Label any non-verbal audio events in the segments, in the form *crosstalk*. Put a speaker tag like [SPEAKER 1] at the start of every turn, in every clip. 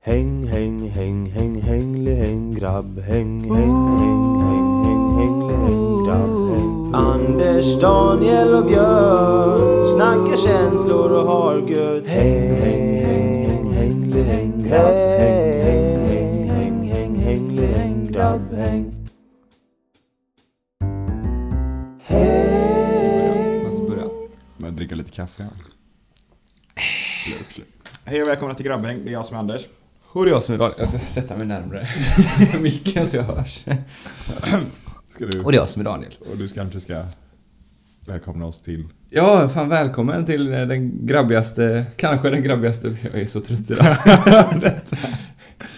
[SPEAKER 1] Häng, häng, häng, häng, hängli, häng, grabb, häng, häng, häng, häng, häng, hängli, häng, grabb, häng. Anders, Daniel och Björn snackar känslor och har gött. Häng, häng, häng, häng, hängli, häng, grabb, häng, häng, häng, häng, häng, hängli, häng, grabb, häng.
[SPEAKER 2] Man
[SPEAKER 3] Alltså,
[SPEAKER 2] ska börja med att dricka lite kaffe. Slurp, slurp. Hej och välkomna till Grabbhäng, det är jag som är Anders.
[SPEAKER 3] Och det är jag som är Daniel. Jag ska sätta mig *laughs* närmre micken så jag hörs.
[SPEAKER 2] *clears throat* Ska du,
[SPEAKER 3] Och det är jag som är Daniel.
[SPEAKER 2] och du ska- kanske ska välkomna oss till...
[SPEAKER 3] Ja, fan välkommen till eh, den grabbigaste, kanske den grabbigaste, *laughs* jag är så trött idag. Detta.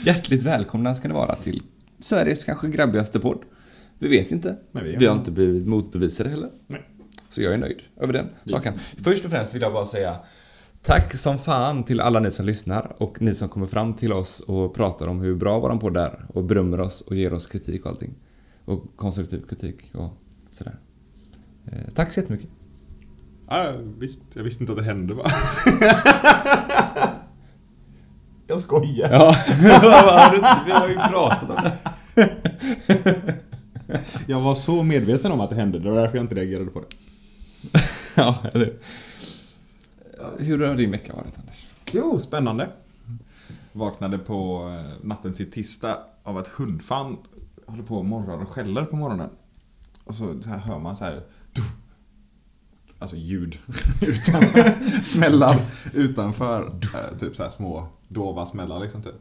[SPEAKER 3] Hjärtligt välkomna ska ni vara till Sveriges kanske grabbigaste podd. Vi vet inte.
[SPEAKER 2] Nej, vi-
[SPEAKER 3] vi har inte blivit motbevisade heller.
[SPEAKER 2] Nej.
[SPEAKER 3] Så jag är nöjd över den saken. Först och främst vill jag bara säga tack som fan till alla ni som lyssnar och ni som kommer fram till oss och pratar om hur bra våran podd är och berömmer oss och ger oss kritik och allting. Och konstruktiv kritik och sådär. Eh, tack så jättemycket.
[SPEAKER 2] Ah, visst, jag visste inte att det hände va? *laughs* jag skojar.
[SPEAKER 3] Ja, *laughs* Har du inte- vi har ju pratat om det.
[SPEAKER 2] Jag var så medveten om att det hände, det var därför jag inte reagerade *laughs* på det.
[SPEAKER 3] ja, eller Hur har din vecka varit Anders?
[SPEAKER 2] Jo, spännande. Vaknade på eh, natten till tisdag av att hundfan håller på och morrar och skäller på morgonen. Och så så här hör man så här... tuff. Alltså ljud. *laughs* Utan, smällar utanför. eh, Typ så här små dova smällar liksom. Typ.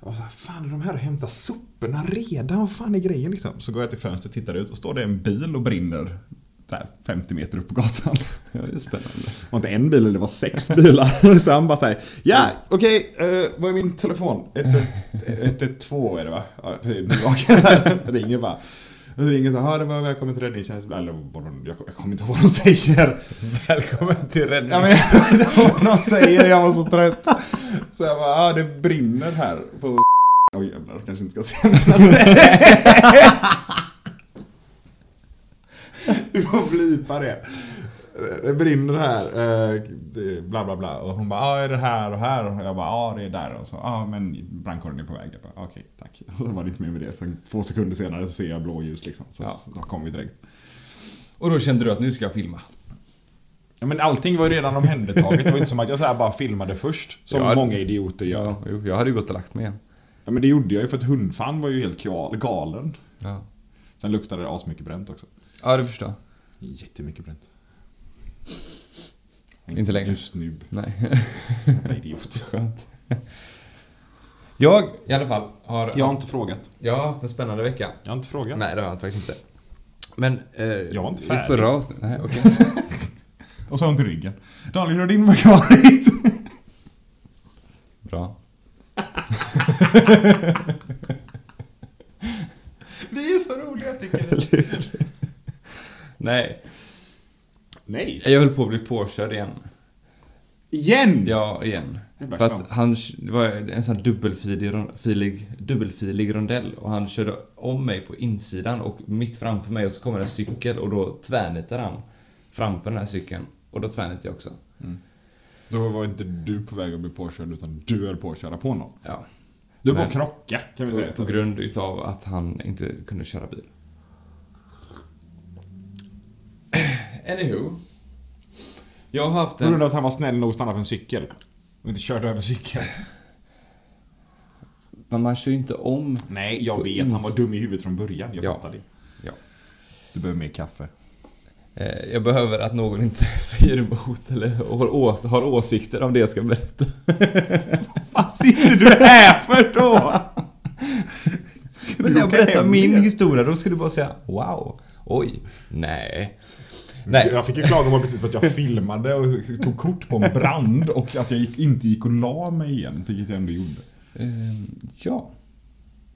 [SPEAKER 2] Jag var så här, fan är de här och hämtar soporna redan? Vad fan är grejen liksom? Så går jag till fönstret och tittar ut och står det en bil och brinner. Så här 50 meter upp på gatan.
[SPEAKER 3] Ja, det är spännande.
[SPEAKER 2] Det var inte en bil, det var sex bilar. *laughs* Så han bara säger ja, okej, eh, vad är min telefon? 112 är det va? Ja, det är nu *laughs* vaknar jag så här. Jag ringer bara. Jag ringer så här, "Ja, det var välkommen till räddningstjänsten. Eller vad de, jag, jag kommer inte ihåg vad de säger.
[SPEAKER 3] Välkommen till räddning.
[SPEAKER 2] Ja, men jag vet inte vad de säger, jag var så trött. Så jag bara, ja ah, det brinner här. På Oj jävlar, kanske inte ska säga Du får blipa det. Det brinner här, eh, det- bla bla bla. Och hon bara, ah, är det här och här? Och jag bara, ja ah, det är där. Och så, ah, men brandkåren är på väg. Jag bara, okej, tack. Och så var det inte mer med det. Sen två sekunder senare så ser jag blåljus liksom. Så
[SPEAKER 3] Ja.
[SPEAKER 2] att då kom vi direkt.
[SPEAKER 3] Och då kände du att nu ska jag filma.
[SPEAKER 2] Ja, men allting var ju redan omhändertaget. Det var ju inte som att jag så här bara filmade först. Som
[SPEAKER 3] Ja.
[SPEAKER 2] många idioter gör. Ja.
[SPEAKER 3] jo, jag hade ju gått och lagt mig igen.
[SPEAKER 2] men det gjorde jag ju för att hundfan var ju helt gal- galen.
[SPEAKER 3] Ja,
[SPEAKER 2] Sen luktade det asmycket bränt också.
[SPEAKER 3] ja det förstår jag.
[SPEAKER 2] Jättemycket bränt.
[SPEAKER 3] Inte längre.
[SPEAKER 2] Just nu.
[SPEAKER 3] Nej. *laughs*
[SPEAKER 2] Jävla idiot.
[SPEAKER 3] Skönt. Jag i alla fall har,
[SPEAKER 2] Jag har inte frågat.
[SPEAKER 3] jag har haft en spännande vecka.
[SPEAKER 2] Jag har inte frågat.
[SPEAKER 3] Nej, det har jag faktiskt inte. Men... Eh,
[SPEAKER 2] Jag var inte
[SPEAKER 3] i
[SPEAKER 2] färdig.
[SPEAKER 3] Förra avsnittet. Nej, *laughs* okej.
[SPEAKER 2] Och så har jag ont i ryggen. Daniel, hur har din vecka varit? *laughs*
[SPEAKER 3] Bra.
[SPEAKER 2] Vi är så roliga tycker ni.
[SPEAKER 3] Eller Nej,
[SPEAKER 2] Nej.
[SPEAKER 3] jag höll på att bli påkörd igen.
[SPEAKER 2] Igen!
[SPEAKER 3] Ja, igen.
[SPEAKER 2] Jävla
[SPEAKER 3] För
[SPEAKER 2] kram.
[SPEAKER 3] att han, det var en sån här dubbelfilig, ron- filig, dubbelfilig rondell och han körde om mig på insidan och mitt framför mig och så kommer en cykel och då tvärnitar han framför den här cykeln och då tvärnitar jag också.
[SPEAKER 2] Då var inte du på väg att bli påkörd utan du är påkörd på någon.
[SPEAKER 3] Ja,
[SPEAKER 2] Du är på
[SPEAKER 3] Men-
[SPEAKER 2] att krocka kan vi säga.
[SPEAKER 3] på, på grund utav att han inte kunde köra bil. *clears throat* Anywho. Jag har haft
[SPEAKER 2] På grund
[SPEAKER 3] en...
[SPEAKER 2] av att han var snäll nog att stanna för en cykel. Och inte körde över cykeln.
[SPEAKER 3] Men man kör ju inte om.
[SPEAKER 2] Nej, jag
[SPEAKER 3] På
[SPEAKER 2] vet. Han var
[SPEAKER 3] ins-
[SPEAKER 2] dum i huvudet från början. Jag
[SPEAKER 3] Ja.
[SPEAKER 2] fattar det.
[SPEAKER 3] Ja.
[SPEAKER 2] Du behöver mer kaffe.
[SPEAKER 3] Eh, Jag behöver att någon inte *laughs* säger emot eller har ås- har åsikter om det jag ska berätta.
[SPEAKER 2] Vad sitter du här för då?
[SPEAKER 3] *laughs* Men när jag berättar min historia, då ska du bara säga wow, oj, nej. Nej,
[SPEAKER 2] Jag fick ju klagomål precis för att jag filmade och tog kort på en brand och att jag gick, inte gick och la mig igen, vilket jag ändå gjorde.
[SPEAKER 3] Ehm, ja.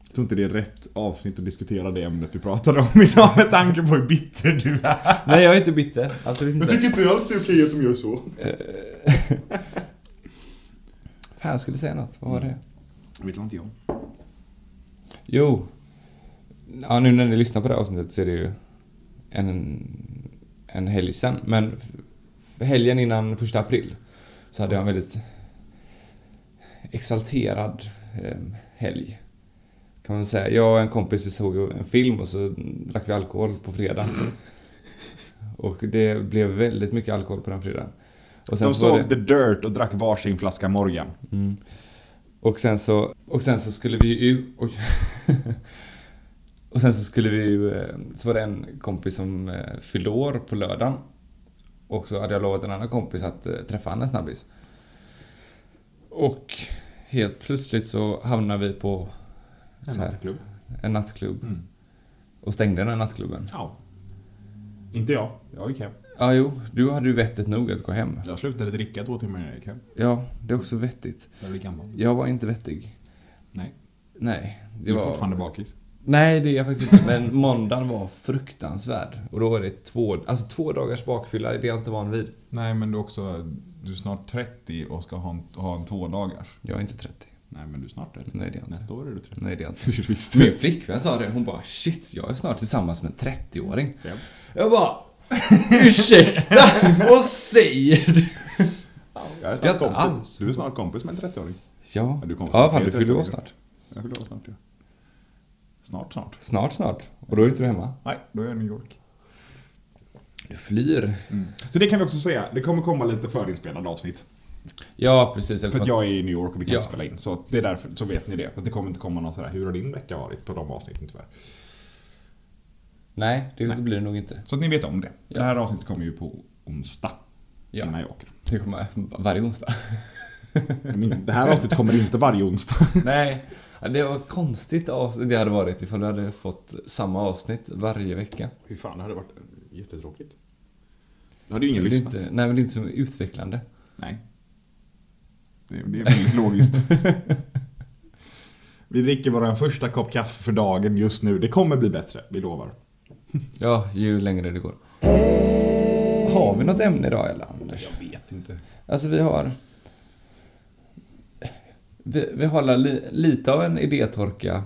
[SPEAKER 2] Jag tror inte det är rätt avsnitt att diskutera det ämnet vi pratade om *laughs* idag med tanke på hur bitter du är.
[SPEAKER 3] Nej, jag är inte bitter. Absolut inte.
[SPEAKER 2] inte alls det är okej att de gör så.
[SPEAKER 3] Fan, jag skulle säga något. Vad var det?
[SPEAKER 2] Det vet inte jag.
[SPEAKER 3] Jo. Ja, nu när ni lyssnar på det här avsnittet så är det ju en, en helg sen. Men f- helgen innan första april så hade jag en väldigt exalterad eh, helg. Kan man väl säga. Jag och en kompis vi såg ju en film och så drack vi alkohol på
[SPEAKER 2] *laughs*
[SPEAKER 3] fredagen. Och det blev väldigt mycket alkohol på den fredagen. Och
[SPEAKER 2] De
[SPEAKER 3] så var
[SPEAKER 2] såg
[SPEAKER 3] det-
[SPEAKER 2] The Dirt och drack varsin flaska Morgan.
[SPEAKER 3] Och sen så, och sen så skulle vi ju... Oj. *laughs* och sen så skulle vi ju... eh, Så var det en kompis som eh, fyllde år på lördagen. Och så hade jag lovat en annan kompis att eh, träffa han en snabbis. Och helt plötsligt så hamnade vi på så här,
[SPEAKER 2] nattklubb.
[SPEAKER 3] en nattklubb.
[SPEAKER 2] Mm.
[SPEAKER 3] Och stängde den här nattklubben.
[SPEAKER 2] Ja. Inte jag. Jag gick hem.
[SPEAKER 3] Ja, jo, du hade ju vettet nog att gå hem.
[SPEAKER 2] Jag slutade dricka två timmar innan jag gick hem.
[SPEAKER 3] Ja, det är också vettigt.
[SPEAKER 2] Jag blev gammal.
[SPEAKER 3] Jag var inte vettig.
[SPEAKER 2] Nej.
[SPEAKER 3] Nej, det
[SPEAKER 2] Du är
[SPEAKER 3] var...
[SPEAKER 2] fortfarande bakis.
[SPEAKER 3] Nej, det är jag faktiskt inte. Men måndagen var fruktansvärd. Och då var det två, alltså två dagars bakfylla, det är jag inte van vid.
[SPEAKER 2] Nej, men du är också... Du är snart 30 och ska ha en, ha en tvådagars.
[SPEAKER 3] Jag är inte 30.
[SPEAKER 2] Nej, men du är snart 30.
[SPEAKER 3] Nej, det är jag inte.
[SPEAKER 2] Nästa år är du 30.
[SPEAKER 3] Nej, det är jag inte.
[SPEAKER 2] Det är du *laughs* visst.
[SPEAKER 3] Min flickvän sa det, hon bara shit, jag är snart tillsammans med en 30-åring.
[SPEAKER 2] Ja.
[SPEAKER 3] Jag bara *laughs* ursäkta, vad säger du?
[SPEAKER 2] Jag är
[SPEAKER 3] Det är
[SPEAKER 2] snart
[SPEAKER 3] inte
[SPEAKER 2] kompis.
[SPEAKER 3] alls.
[SPEAKER 2] Du är snart kompis med en 30-åring.
[SPEAKER 3] Ja,
[SPEAKER 2] Ja, du kommer
[SPEAKER 3] ja
[SPEAKER 2] snart.
[SPEAKER 3] fan du
[SPEAKER 2] Helt
[SPEAKER 3] fyller år
[SPEAKER 2] övertygad.
[SPEAKER 3] snart.
[SPEAKER 2] Jag fyller år snart, ja. Snart, snart.
[SPEAKER 3] Snart, snart. Och då är inte du hemma.
[SPEAKER 2] Nej, då är jag i New York.
[SPEAKER 3] Du flyr.
[SPEAKER 2] Så det kan vi också säga. Det kommer komma lite förinspelade avsnitt.
[SPEAKER 3] Ja, precis.
[SPEAKER 2] För
[SPEAKER 3] eftersom
[SPEAKER 2] att jag är i New York och vi kan
[SPEAKER 3] Ja.
[SPEAKER 2] inte spela in. Så det är därför, så vet ni det. För att det kommer inte komma någon sådär, hur har din vecka varit på de avsnitten tyvärr.
[SPEAKER 3] att- Nej, det
[SPEAKER 2] Nej.
[SPEAKER 3] blir det nog inte.
[SPEAKER 2] Så att ni vet om det.
[SPEAKER 3] Ja.
[SPEAKER 2] Det här avsnittet kommer ju på onsdag.
[SPEAKER 3] Ja.
[SPEAKER 2] Innan jag åker.
[SPEAKER 3] Det kommer varje onsdag.
[SPEAKER 2] *laughs* Men Det här avsnittet kommer inte varje *laughs* onsdag.
[SPEAKER 3] Nej. Ja, Det var konstigt avsnitt det hade varit ifall vi hade fått samma avsnitt varje vecka.
[SPEAKER 2] Hur fan, det hade varit eh, jättetråkigt. Då hade ju ingen
[SPEAKER 3] Det är
[SPEAKER 2] lyssnat.
[SPEAKER 3] inte, nej, men det är inte så utvecklande.
[SPEAKER 2] Nej. Det, det är väldigt *laughs* logiskt. Vi dricker vår första kopp kaffe för dagen just nu. Det kommer bli bättre, vi lovar.
[SPEAKER 3] Ja, ju längre det går. Har vi något ämne idag eller Anders?
[SPEAKER 2] Jag vet inte.
[SPEAKER 3] Alltså vi har... Vi, vi har li, lite av en idétorka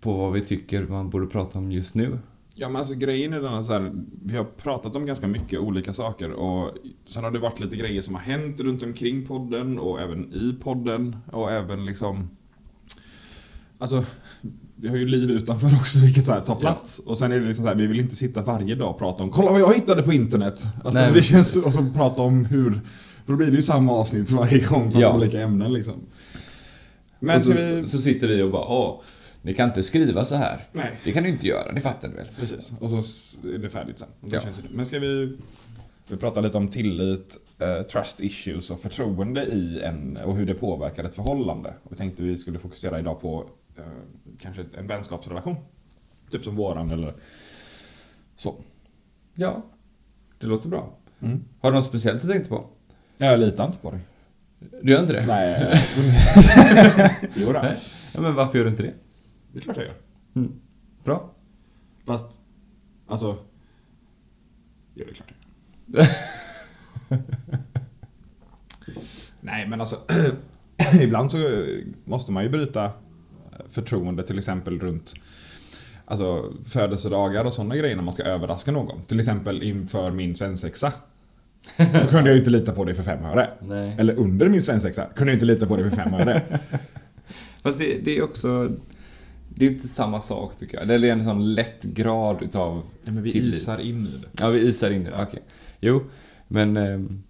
[SPEAKER 3] på vad vi tycker man borde prata om just nu.
[SPEAKER 2] Ja men alltså grejen är den att så här, vi har pratat om ganska mycket olika saker och sen har det varit lite grejer som har hänt runt omkring podden och även i podden och även liksom Alltså, vi har ju liv utanför också vilket så här tar plats. Och sen är det liksom så här, vi vill inte sitta varje dag och prata om “Kolla vad jag hittade på internet!” Alltså
[SPEAKER 3] Nej,
[SPEAKER 2] det
[SPEAKER 3] men
[SPEAKER 2] känns,
[SPEAKER 3] precis.
[SPEAKER 2] och så prata om hur, för då blir det ju samma avsnitt varje gång för
[SPEAKER 3] Ja.
[SPEAKER 2] olika ämnen liksom. Men
[SPEAKER 3] Men
[SPEAKER 2] så,
[SPEAKER 3] så,
[SPEAKER 2] vi...
[SPEAKER 3] så sitter vi och bara åh, ni kan inte skriva så här.
[SPEAKER 2] Nej.
[SPEAKER 3] Det kan ni inte göra, det fattar ni väl?
[SPEAKER 2] Precis, och så s- är det färdigt sen. Och då
[SPEAKER 3] Ja.
[SPEAKER 2] känns det- Men ska vi, vi prata lite om tillit, eh, trust issues och förtroende i en och hur det påverkar ett förhållande. Och vi tänkte vi skulle fokusera idag på eh, kanske ett- en vänskapsrelation. Typ som våran eller så.
[SPEAKER 3] Ja, det låter bra.
[SPEAKER 2] Mm.
[SPEAKER 3] Har du något speciellt du tänkte på?
[SPEAKER 2] Jag litar inte på dig.
[SPEAKER 3] Du gör inte det?
[SPEAKER 2] Nej. *laughs* Jodå,
[SPEAKER 3] Nej. Ja, men varför gör du inte det?
[SPEAKER 2] det är klart jag gör. Mm.
[SPEAKER 3] Bra.
[SPEAKER 2] Fast, alltså. Ja, det är klart det. *laughs* Nej, men alltså. *clears throat* ibland så måste man ju bryta förtroende till exempel runt alltså, födelsedagar och sådana grejer när man ska överraska någon. Till exempel inför min svensexa. Så kunde jag ju inte lita på dig för fem öre.
[SPEAKER 3] Nej.
[SPEAKER 2] Eller under min svensexa kunde jag inte lita på dig för fem öre.
[SPEAKER 3] Fast det, det är också... Det är inte samma sak tycker jag. Det är en sån lätt grad utav
[SPEAKER 2] *laughs* Nej, men vi
[SPEAKER 3] tillit.
[SPEAKER 2] isar in i det.
[SPEAKER 3] Ja, vi isar in i det. Okej. Jo, men... ehm,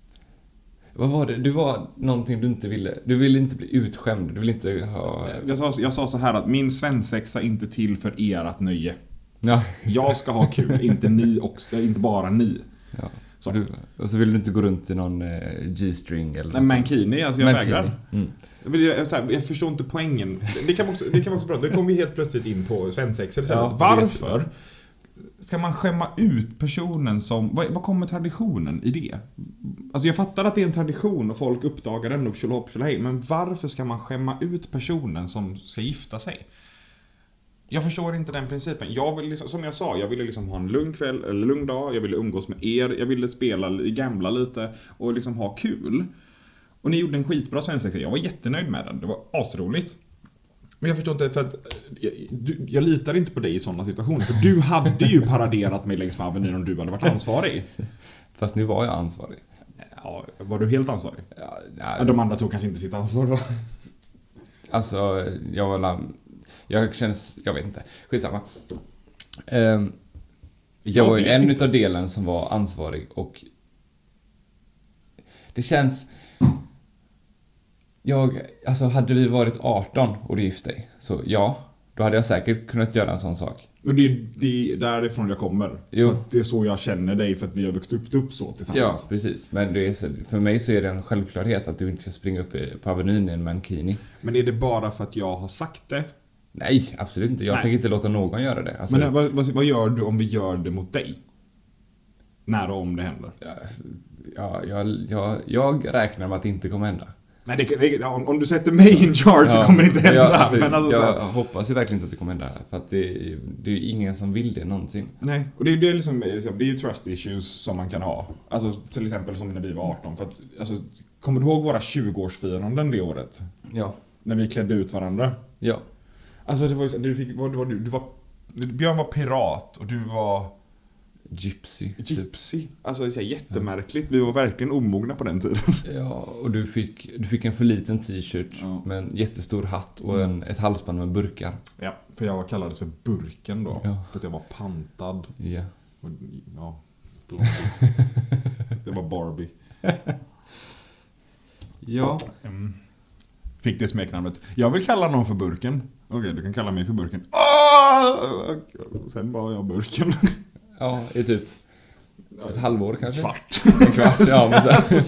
[SPEAKER 3] vad var det? Du var någonting du inte ville... Du ville inte bli utskämd. Du ville inte ha...
[SPEAKER 2] Eh, Jag sa, jag sa så här att min svensexa är inte till för ert nöje.
[SPEAKER 3] Ja.
[SPEAKER 2] Jag ska ha kul, inte ni också, inte bara ni.
[SPEAKER 3] ja.
[SPEAKER 2] Så.
[SPEAKER 3] Och, du, och så ville du inte gå runt i någon eh, G-string eller
[SPEAKER 2] Nej,
[SPEAKER 3] något sånt.
[SPEAKER 2] mankini, alltså jag
[SPEAKER 3] Mankini.
[SPEAKER 2] vägrar.
[SPEAKER 3] Mm.
[SPEAKER 2] Jag, vill- jag, så här, jag förstår inte poängen. Det kan, vi också, det kan vi också prata om. Nu kommer vi helt plötsligt in på svensexor istället.
[SPEAKER 3] Ja,
[SPEAKER 2] Varför ska man skämma ut personen som... Vad, vad kommer traditionen i det? Alltså jag fattar att det är en tradition och folk uppdagar den och tjolahopp tjolahej. Men varför ska man skämma ut personen som ska gifta sig? Jag förstår inte den principen. Jag vill liksom, som jag sa, jag ville liksom ha en lugn kväll, eller lugn dag, jag ville umgås med er, jag ville spela, gamla lite och liksom ha kul. Och ni gjorde en skitbra svensexa, jag var jättenöjd med den, det var asroligt. Men jag förstår inte, för att eh, jag, du, jag litar inte på dig i sådana situationer. För du hade ju paraderat mig längs med Avenyn om du hade varit ansvarig.
[SPEAKER 3] Fast nu var jag ansvarig.
[SPEAKER 2] Ja, var du helt ansvarig?
[SPEAKER 3] Ja,
[SPEAKER 2] Ja,
[SPEAKER 3] nej,
[SPEAKER 2] De andra tog kanske inte sitt ansvar va?
[SPEAKER 3] Alltså, jag var la- Jag känns... Jag vet inte. Skitsamma. Ehm, jag var ju
[SPEAKER 2] vet
[SPEAKER 3] en
[SPEAKER 2] inte.
[SPEAKER 3] utav delen som var ansvarig och... Det känns... Jag, alltså hade vi varit 18 och du gift dig, så ja, då hade jag säkert kunnat göra en sån sak.
[SPEAKER 2] Och det, är- det är därifrån jag kommer.
[SPEAKER 3] Jo.
[SPEAKER 2] För att det är så jag känner dig för att vi har vuxit upp, upp så
[SPEAKER 3] Ja,
[SPEAKER 2] tillsammans.
[SPEAKER 3] precis. Men det är, så- för mig så är det en självklarhet att du inte ska springa upp i- på Avenyn i en mankini.
[SPEAKER 2] Men är det bara för att jag har sagt det?
[SPEAKER 3] Nej, absolut inte. Jag
[SPEAKER 2] Nej.
[SPEAKER 3] tänker inte låta någon göra det. Alltså,
[SPEAKER 2] Men eh, vad, vad, vad gör du om vi gör det mot dig? När och om det händer?
[SPEAKER 3] ja, jag, jag, jag räknar med att det inte kommer hända.
[SPEAKER 2] Nej, det, det, ja, om, om du sätter mig in charge så
[SPEAKER 3] Ja,
[SPEAKER 2] kommer det inte hända.
[SPEAKER 3] Jag, alltså,
[SPEAKER 2] men alltså, så
[SPEAKER 3] jag
[SPEAKER 2] här,
[SPEAKER 3] hoppas ju verkligen inte att det kommer hända. För att det, det är ju ingen som vill det någonsin.
[SPEAKER 2] nej, och det, är- det, är liksom, liksom, det är ju trust issues som man kan ha. Alltså, till exempel som när vi var 18. För att, alltså, kommer du ihåg våra 20-årsfiranden det året?
[SPEAKER 3] Ja.
[SPEAKER 2] När vi klädde ut varandra?
[SPEAKER 3] Ja.
[SPEAKER 2] Alltså det var ju så- du fick, vad var du? Du var, Björn var pirat och du var
[SPEAKER 3] Gypsy. typ.
[SPEAKER 2] gypsy. Alltså det är så här jättemärkligt. Vi var verkligen omogna på den tiden.
[SPEAKER 3] Ja, och du fick, du fick en för liten t-shirt
[SPEAKER 2] Ja.
[SPEAKER 3] med en jättestor hatt och en, ett halsband med burkar.
[SPEAKER 2] Ja. För jag var- kallades för Burken då.
[SPEAKER 3] Ja.
[SPEAKER 2] För att jag var pantad.
[SPEAKER 3] Ja.
[SPEAKER 2] Och,
[SPEAKER 3] *laughs*
[SPEAKER 2] ja. det var Barbie.
[SPEAKER 3] Ja.
[SPEAKER 2] Fick det smeknamnet. Jag vill kalla någon för Burken. Okej, du kan kalla mig för Burken. Ah! Och Sen var jag Burken.
[SPEAKER 3] Ja, i typ ett halvår kanske.
[SPEAKER 2] Kvart.
[SPEAKER 3] En kvart. Ja, men så här.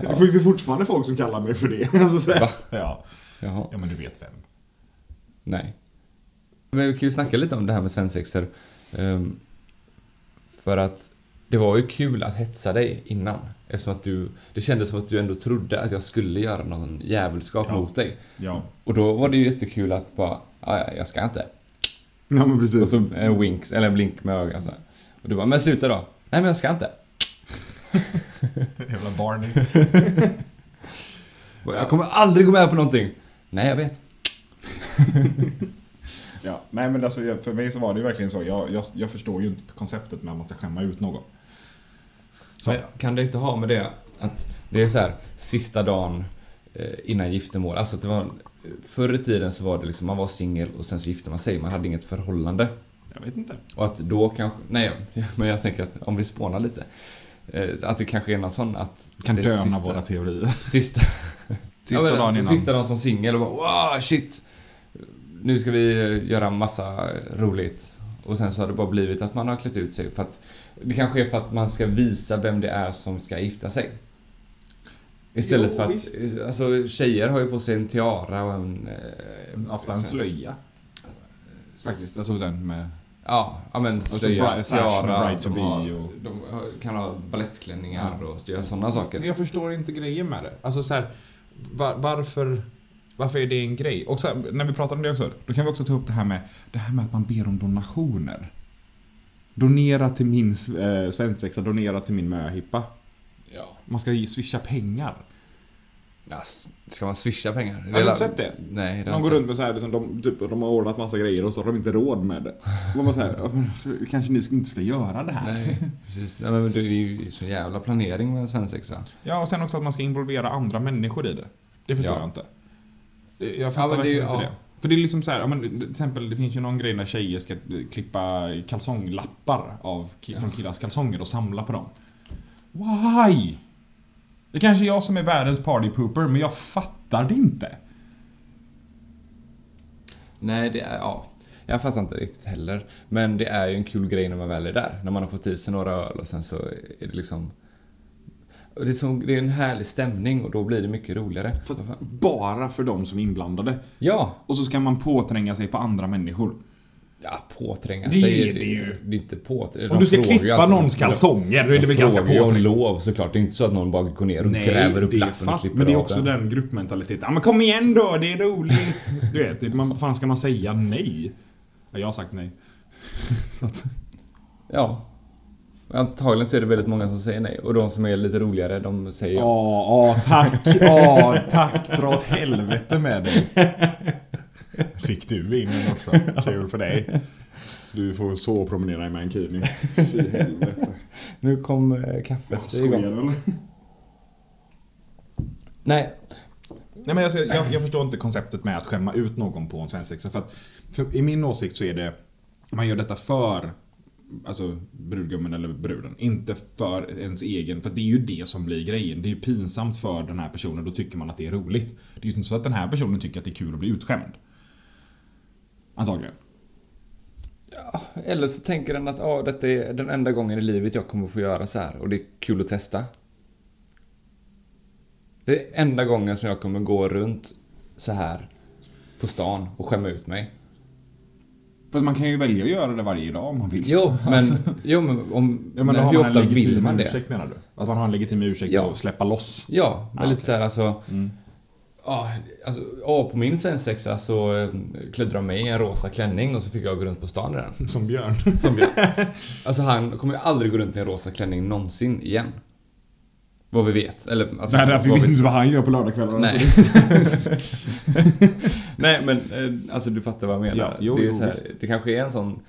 [SPEAKER 2] *laughs* Det finns ju fortfarande folk som kallar mig för det. *laughs* Alltså, så här.
[SPEAKER 3] Va?
[SPEAKER 2] Ja.
[SPEAKER 3] Jaha.
[SPEAKER 2] ja, men du vet vem.
[SPEAKER 3] Nej. Men vi kan ju snacka lite om det här med svensexor. Ehm, för att det var ju kul att hetsa dig innan. Eftersom att du, det kändes som att du ändå trodde att jag skulle göra någon djävulskap
[SPEAKER 2] Ja.
[SPEAKER 3] mot dig.
[SPEAKER 2] Ja.
[SPEAKER 3] Och då var det ju jättekul att bara, "Ja, ja, jag ska inte.
[SPEAKER 2] Ja men precis.
[SPEAKER 3] Och så en winks, eller en blink med ögat så här. Och du bara, men sluta då. Nej men jag ska inte.
[SPEAKER 2] Jävla Barney.
[SPEAKER 3] *laughs* Och Jag kommer aldrig gå med på någonting. Nej jag vet.
[SPEAKER 2] Ja, nej men alltså jag- för mig så var det ju verkligen så. Jag, jag, jag förstår ju inte konceptet med att man ska skämma ut någon. Så.
[SPEAKER 3] Men kan det inte ha med det att det är så här sista dagen eh, innan giftermål. Alltså att det var, förr i tiden så var det liksom man var singel och sen så gifte man sig. Man hade inget förhållande.
[SPEAKER 2] Jag vet inte.
[SPEAKER 3] Och att då kanske, nej *laughs* men jag tänker att om vi spånar lite. eh, Att det kanske är någon sån att...
[SPEAKER 2] Vi kan
[SPEAKER 3] det är
[SPEAKER 2] döna
[SPEAKER 3] sista-
[SPEAKER 2] våra teorier.
[SPEAKER 3] Sista...
[SPEAKER 2] Sista
[SPEAKER 3] men alltså,
[SPEAKER 2] dagen innan.
[SPEAKER 3] Sista dagen som singel och bara wow shit. Nu ska vi eh, göra massa roligt. Och sen så har det bara blivit att man har klätt ut sig för att det kanske är för att man ska visa vem det är som ska gifta sig. Istället
[SPEAKER 2] Jo,
[SPEAKER 3] för att,
[SPEAKER 2] visst.
[SPEAKER 3] alltså tjejer har ju på sig en tiara och en... eh,
[SPEAKER 2] Ofta slöja. Faktiskt, alltså den med...
[SPEAKER 3] Ja, ja men
[SPEAKER 2] så
[SPEAKER 3] slöja,
[SPEAKER 2] bri- så här som
[SPEAKER 3] tiara,
[SPEAKER 2] bride to
[SPEAKER 3] de, har,
[SPEAKER 2] be och-
[SPEAKER 3] de har- kan ha balettklänningar och göra sådana saker.
[SPEAKER 4] Jag förstår inte grejen med det. Alltså så här, var, varför, varför är det en grej?
[SPEAKER 2] Och så här, när vi pratar om det också, då kan vi också ta upp det här med, det här med att man ber om donationer. Donera till min eh, svensexa, donera till min möhippa.
[SPEAKER 3] Ja.
[SPEAKER 2] Man ska ju swisha pengar.
[SPEAKER 3] Ja, s- ska man swisha pengar?
[SPEAKER 2] Har du
[SPEAKER 3] la-
[SPEAKER 2] inte sett det?
[SPEAKER 3] Nej, det har
[SPEAKER 2] De
[SPEAKER 3] jag
[SPEAKER 2] går
[SPEAKER 3] inte
[SPEAKER 2] runt med så här, liksom, de, typ, de har ordnat massa grejer och så har de inte råd med det. Och man *laughs* säger, kanske ni inte ska göra det här.
[SPEAKER 3] Nej, precis. Nej, men det är ju så jävla planering med en svensexa.
[SPEAKER 2] Ja, och sen också att man ska involvera andra människor i det. Det förstår
[SPEAKER 3] Ja.
[SPEAKER 2] jag inte. Det- Jag fattar
[SPEAKER 3] men det är ju-
[SPEAKER 2] verkligen inte
[SPEAKER 3] ja.
[SPEAKER 2] det. För det är liksom så här, ja, men, till exempel det finns ju någon grej när tjejer ska eh, klippa kalsonglappar av, ki- från killars kalsonger och samla på dem. Why? Det kanske är jag som är världens partypooper, men jag fattar det inte.
[SPEAKER 3] Nej, det är... Ja. Jag fattar inte riktigt heller. Men det är ju en kul grej när man väl är där. När man har fått i sig några öl och sen så är det liksom... och Det är, så, det är en härlig stämning och då blir det mycket roligare.
[SPEAKER 2] Fast bara för de som är inblandade.
[SPEAKER 3] Ja!
[SPEAKER 2] Och så ska man påtränga sig på andra människor.
[SPEAKER 3] Ja, påtränga
[SPEAKER 2] Det
[SPEAKER 3] sig.
[SPEAKER 2] är det ju.
[SPEAKER 3] Det är inte påtränga.
[SPEAKER 2] Om du ska klippa någons kalsonger, då är det väl ganska
[SPEAKER 3] påtränga. om
[SPEAKER 2] påträngande.
[SPEAKER 3] lov såklart. Det är inte så att någon bara går ner och gräver upp
[SPEAKER 2] det är
[SPEAKER 3] lappen och
[SPEAKER 2] fast-
[SPEAKER 3] klipper
[SPEAKER 2] Men det är
[SPEAKER 3] av
[SPEAKER 2] också
[SPEAKER 3] den.
[SPEAKER 2] den gruppmentaliteten. Ja, men kom igen då, det är roligt. Du vet, det- man, vad fan ska man säga nej? Ja, jag har sagt nej. *laughs* Så att,
[SPEAKER 3] Ja. Antagligen så är det väldigt många som säger nej. Och de som är lite roligare, de säger ja.
[SPEAKER 2] ja, tack, *laughs* ja, tack, dra åt helvete med dig. Fick du in den också, kul för dig. Du får så promenera i mankini. Fy helvete.
[SPEAKER 3] Nu kom eh, kaffet igång.
[SPEAKER 2] eller?
[SPEAKER 3] Nej.
[SPEAKER 2] Nej, men alltså, jag, jag förstår inte konceptet med att skämma ut någon på en svensexa. För att, för, I min åsikt så är det, man gör detta för alltså, brudgummen eller bruden. Inte för ens egen, för det är ju det som blir grejen. Det är ju pinsamt för den här personen, då tycker man att det är roligt. Det är ju inte så att den här personen tycker att det är kul att bli utskämd. Antagligen.
[SPEAKER 3] Ja, eller så tänker den att ah, detta är den enda gången i livet jag kommer få göra så här och det är kul att testa. Det är enda gången som jag kommer gå runt så här på stan och skämma ut mig.
[SPEAKER 2] Fast man kan ju välja att göra det varje dag om man vill.
[SPEAKER 3] Jo, men, jo, men, om,
[SPEAKER 2] Alltså. Ja, men då
[SPEAKER 3] men
[SPEAKER 2] har
[SPEAKER 3] hur
[SPEAKER 2] man
[SPEAKER 3] ofta
[SPEAKER 2] en legitim
[SPEAKER 3] vill man det?
[SPEAKER 2] ursäkt menar du? Att man har en legitim ursäkt
[SPEAKER 3] Ja.
[SPEAKER 2] att släppa loss.
[SPEAKER 3] Ja, men
[SPEAKER 2] Ja,
[SPEAKER 3] lite så här alltså. Ja, alltså, ja, på min svensexa så eh, klädde de mig i en rosa klänning och så fick jag gå runt på stan i den.
[SPEAKER 2] Som Björn.
[SPEAKER 3] Som jag. *laughs* Alltså han kommer ju aldrig gå runt i en rosa klänning någonsin igen. Vad vi vet. Eller, alltså,
[SPEAKER 2] Nej, därför
[SPEAKER 3] vad
[SPEAKER 2] vet vi inte vad han gör på lördagskvällarna. *laughs*
[SPEAKER 3] Nej. *laughs* Nej men eh, alltså du fattar vad jag menar.
[SPEAKER 2] Ja, jo,
[SPEAKER 3] det, är ju
[SPEAKER 2] jo,
[SPEAKER 3] så här,
[SPEAKER 2] visst.
[SPEAKER 3] det kanske är en sån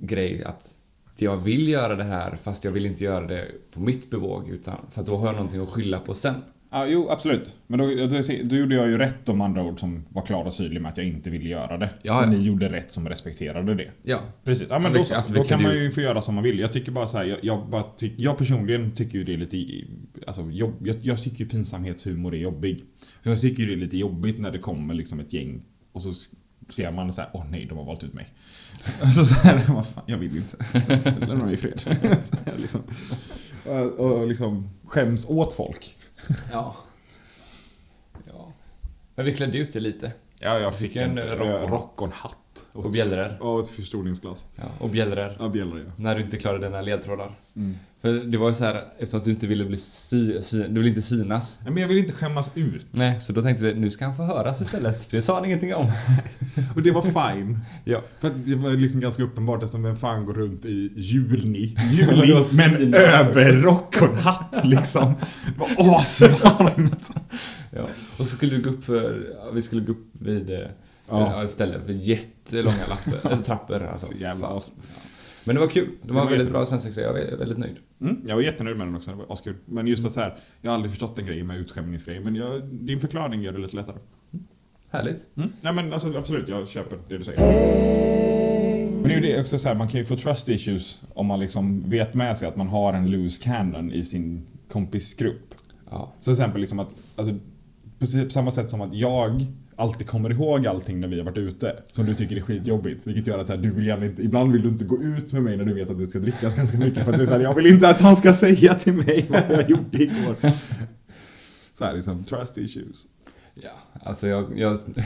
[SPEAKER 3] grej att jag vill göra det här fast jag vill inte göra det på mitt bevåg utan för att då har jag någonting att skylla på sen.
[SPEAKER 2] Ja, jo, absolut. Men då, då, då gjorde jag ju rätt om andra ord som var klar och tydlig med att jag inte ville göra det.
[SPEAKER 3] Ja, ja.
[SPEAKER 2] Och ni gjorde rätt som respekterade det.
[SPEAKER 3] Ja.
[SPEAKER 2] Precis. Ja,
[SPEAKER 3] Ja,
[SPEAKER 2] men då,
[SPEAKER 3] vi-
[SPEAKER 2] så.
[SPEAKER 3] alltså, vi
[SPEAKER 2] då kan
[SPEAKER 3] kunde
[SPEAKER 2] man
[SPEAKER 3] ju-
[SPEAKER 2] ju få göra som man vill. Jag tycker bara så här, jag, jag, bara tyck, jag personligen tycker ju det är lite... i- Alltså, jobb, jag, jag tycker ju pinsamhetshumor är jobbig. För jag tycker ju det är lite jobbigt när det kommer liksom ett gäng och så s- ser man så här, åh nej, de har valt ut mig. *laughs* Så, så här, vad fan, jag vill inte. *laughs* Så, så, lämna mig i fred. Så här, liksom. Och, och liksom skäms åt folk.
[SPEAKER 3] Ja. ja. Men vi klädde ut det lite.
[SPEAKER 2] Ja, jag
[SPEAKER 3] fick en rock-
[SPEAKER 2] rock och en hatt.
[SPEAKER 3] Och bjällror.
[SPEAKER 2] Ja, ett förstoringsglas.
[SPEAKER 3] Ja, och bjällror.
[SPEAKER 2] Ja, bjällror ja.
[SPEAKER 3] När du inte klarade dina ledtrådar. För det var ju så här, eftersom att du inte ville bli sy, sy, du ville inte synas.
[SPEAKER 2] Nej, men jag vill inte skämmas ut.
[SPEAKER 3] Nej, så då tänkte vi nu ska han få höras istället. För det sa han ingenting om.
[SPEAKER 2] Och det var fine.
[SPEAKER 3] *laughs* Ja.
[SPEAKER 2] För att det var liksom ganska uppenbart eftersom vem fan går runt i
[SPEAKER 3] *laughs*
[SPEAKER 2] juni,
[SPEAKER 3] Det
[SPEAKER 2] juli
[SPEAKER 3] var
[SPEAKER 2] med en
[SPEAKER 3] svinvarmt.
[SPEAKER 2] överrock och en hatt liksom. Det
[SPEAKER 3] *laughs*
[SPEAKER 2] var asvarmt.
[SPEAKER 3] Ja. Och så skulle vi gå upp, för, ja, vi skulle gå upp vid eh,
[SPEAKER 2] Ja.
[SPEAKER 3] ja. ställen för jättelånga lappor, eller trappor. Alltså.
[SPEAKER 2] jävla
[SPEAKER 3] Fan.
[SPEAKER 2] as.
[SPEAKER 3] Men det var kul. Det, var, en
[SPEAKER 2] var
[SPEAKER 3] väldigt
[SPEAKER 2] jättebra.
[SPEAKER 3] bra svensexa. Jag är väldigt nöjd.
[SPEAKER 2] Mm, jag var jättenöjd med den också, det var askul. Men just att så här, jag har aldrig förstått en grej med utskämningsgrejer men jag, din förklaring gör det lite lättare.
[SPEAKER 3] Härligt.
[SPEAKER 2] Mm. Nej men alltså absolut, jag köper det du säger. Men det är ju det också så här, man kan ju få trust issues om man liksom vet med sig att man har en loose cannon i sin kompisgrupp.
[SPEAKER 3] Ja.
[SPEAKER 2] Så till exempel liksom att, alltså, precis på samma sätt som att jag alltid kommer ihåg allting när vi har varit ute. Som du tycker är skitjobbigt. Vilket gör att så här, du vill gärna inte, ibland vill du inte gå ut med mig när du vet att det ska drickas ganska mycket. För att du är så här, jag vill inte att han ska säga till mig vad jag gjorde igår. Så här liksom, trust issues.
[SPEAKER 3] Ja, alltså jag, jag, *laughs*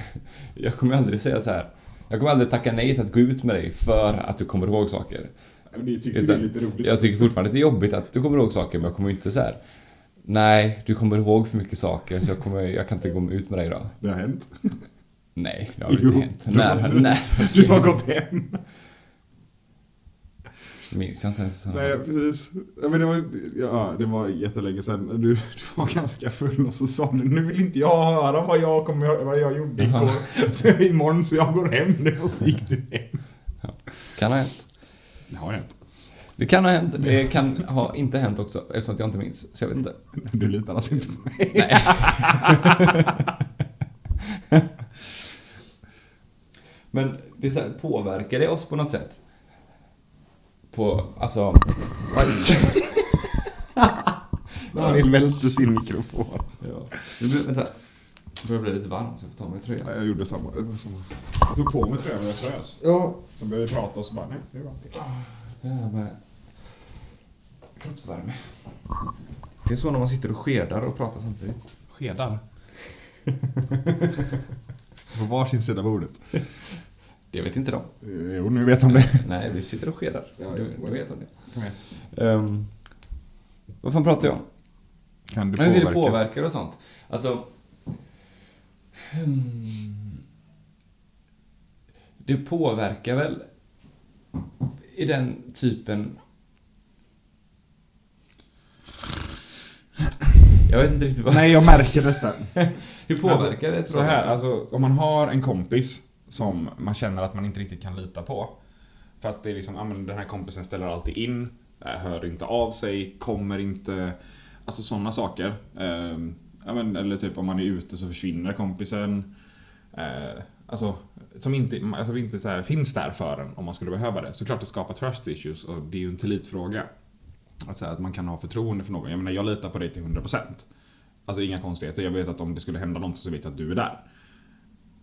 [SPEAKER 3] jag kommer aldrig säga så här. Jag kommer aldrig tacka nej till att gå ut med dig för att du kommer ihåg saker.
[SPEAKER 2] Men det tycker
[SPEAKER 3] Utan
[SPEAKER 2] det är lite roligt.
[SPEAKER 3] Jag tycker fortfarande att det är jobbigt att du kommer ihåg saker men jag kommer inte så här. Nej, du kommer ihåg för mycket saker så jag, kommer, jag kan inte gå ut med dig idag.
[SPEAKER 2] Det har hänt.
[SPEAKER 3] Nej, det har inte hänt. När,
[SPEAKER 2] *laughs* du,
[SPEAKER 3] när? *laughs*
[SPEAKER 2] du har gått hem.
[SPEAKER 3] Minns jag inte ens.
[SPEAKER 2] Nej, precis. Ja, Men det, var, ja, det var jättelänge sedan. Du, du var ganska full och så sa du nu vill inte jag höra vad jag, kom, vad jag gjorde igår. Så, imorgon så jag går hem nu och så gick du hem.
[SPEAKER 3] Kan ha hänt.
[SPEAKER 2] Det har hänt.
[SPEAKER 3] Det kan ha hänt. Det kan ha inte hänt också eftersom att jag inte minns. Så jag vet inte.
[SPEAKER 2] Du litar alltså inte på mig.
[SPEAKER 3] Men det är så här, påverkar det oss på något sätt? På, alltså...
[SPEAKER 2] Han vill välta sin mikrofon.
[SPEAKER 3] Ja. Nu blir, vänta. Det börjar bli lite varmt så jag får ta av mig
[SPEAKER 2] Ja,
[SPEAKER 3] tröjan.
[SPEAKER 2] jag gjorde samma. Det var samma. Jag tog på mig tröjan och jag frös.
[SPEAKER 3] Ja.
[SPEAKER 2] Sen började vi prata och så bara nej, det är varmt.
[SPEAKER 3] Jävlar med kroppsvärme. Det är så när man sitter och skedar och pratar samtidigt.
[SPEAKER 2] Skedar. *laughs* På varsin sida bordet.
[SPEAKER 3] Det vet inte de.
[SPEAKER 2] Eh, Jo, nu vet om det.
[SPEAKER 3] Nej, vi sitter och skedar.
[SPEAKER 2] Ja,
[SPEAKER 3] du,
[SPEAKER 2] ja.
[SPEAKER 3] du vet om det.
[SPEAKER 2] Kom igen.
[SPEAKER 3] Ehm, vad fan pratar jag om?
[SPEAKER 2] Kan du
[SPEAKER 3] Men hur
[SPEAKER 2] påverka?
[SPEAKER 3] det påverkar och sånt. Alltså... hmm. Det påverkar väl i den typen... Jag vet inte riktigt vad...
[SPEAKER 2] Nej, jag märker detta.
[SPEAKER 3] Hur påverkar det?
[SPEAKER 2] Alltså, så här, alltså, om man har en kompis som man känner att man inte riktigt kan lita på. För att det är liksom, ja, men den här kompisen ställer alltid in, eh, hör inte av sig, kommer inte. Alltså sådana saker. Ehm, Ja, men, eller typ om man är ute så försvinner kompisen. Eh, alltså, som inte, alltså inte så här, finns där för en om man skulle behöva det. Såklart det skapar trust issues och det är ju en tillitsfråga. Att, säga att man kan ha förtroende för någon. Jag menar, jag litar på dig till 100%. Alltså inga konstigheter. Jag vet att om det skulle hända någonting så vet jag att du är där.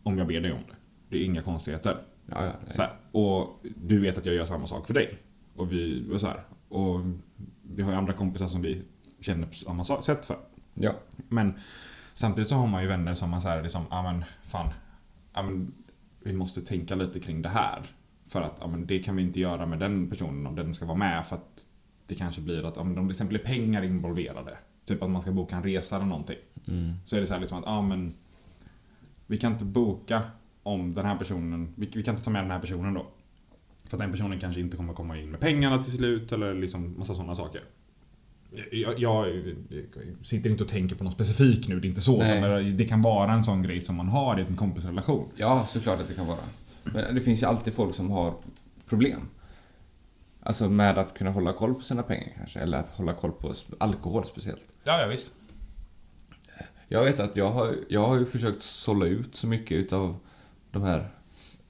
[SPEAKER 2] Om jag ber dig om det. Det är inga konstigheter.
[SPEAKER 3] Ja, ja,
[SPEAKER 2] Så här, och du vet att jag gör samma sak för dig. Och vi, och så här, och vi har ju andra kompisar som vi känner på samma sa- sätt för.
[SPEAKER 3] ja.
[SPEAKER 2] Men samtidigt så har man ju vänner som man säger liksom, ja men fan, ja men vi måste tänka lite kring det här. För att, ja men det kan vi inte göra med den personen om den ska vara med för att det kanske blir att, om de till exempel är pengar involverade. Typ att man ska boka en resa eller någonting.
[SPEAKER 3] Mm.
[SPEAKER 2] Så är det så här liksom att, ja men vi kan inte boka om den här personen, vi, vi kan inte ta med den här personen då. För att den personen kanske inte kommer komma in med pengarna till slut eller liksom massa sådana saker. Jag, jag, jag sitter inte och tänker på något specifikt nu, det är inte så.
[SPEAKER 3] Nej.
[SPEAKER 2] Men det kan vara en sån grej som man har i en kompisrelation.
[SPEAKER 3] Ja, såklart att det kan vara. Men det finns ju alltid folk som har problem. Alltså med att kunna hålla koll på sina pengar kanske, eller att hålla koll på sp- alkohol speciellt.
[SPEAKER 2] Ja, ja visst.
[SPEAKER 3] Jag vet att jag har, jag har ju försökt sålla ut så mycket utav de här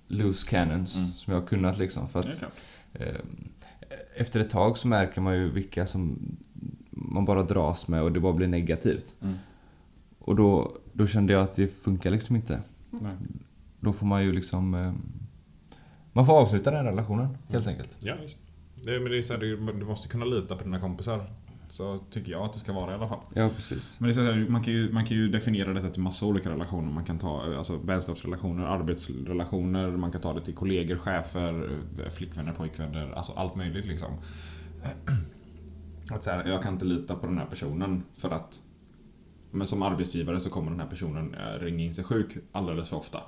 [SPEAKER 3] loose cannons som jag har kunnat liksom. För
[SPEAKER 2] Det är
[SPEAKER 3] att,
[SPEAKER 2] klart.
[SPEAKER 3] eh, efter ett tag så märker man ju vilka som man bara dras med och det bara blir negativt. Och då, då kände jag att det funkar liksom inte.
[SPEAKER 2] Nej.
[SPEAKER 3] Då får man ju liksom... eh, Man får avsluta den relationen helt enkelt.
[SPEAKER 2] Ja, visst. Det, men det är så här, du, du måste kunna lita på dina kompisar. Så tycker jag att det ska vara i alla fall.
[SPEAKER 3] Ja, precis.
[SPEAKER 2] Men det är så här, man, kan ju, man kan ju definiera detta till massa olika relationer. Man kan ta alltså, vänskapsrelationer, arbetsrelationer, man kan ta det till kollegor, chefer, eh, flickvänner, pojkvänner, alltså allt möjligt liksom. *clears throat* Att så här, jag kan inte lita på den här personen för att men som arbetsgivare så kommer den här personen eh, ringa in sig sjuk alldeles för ofta.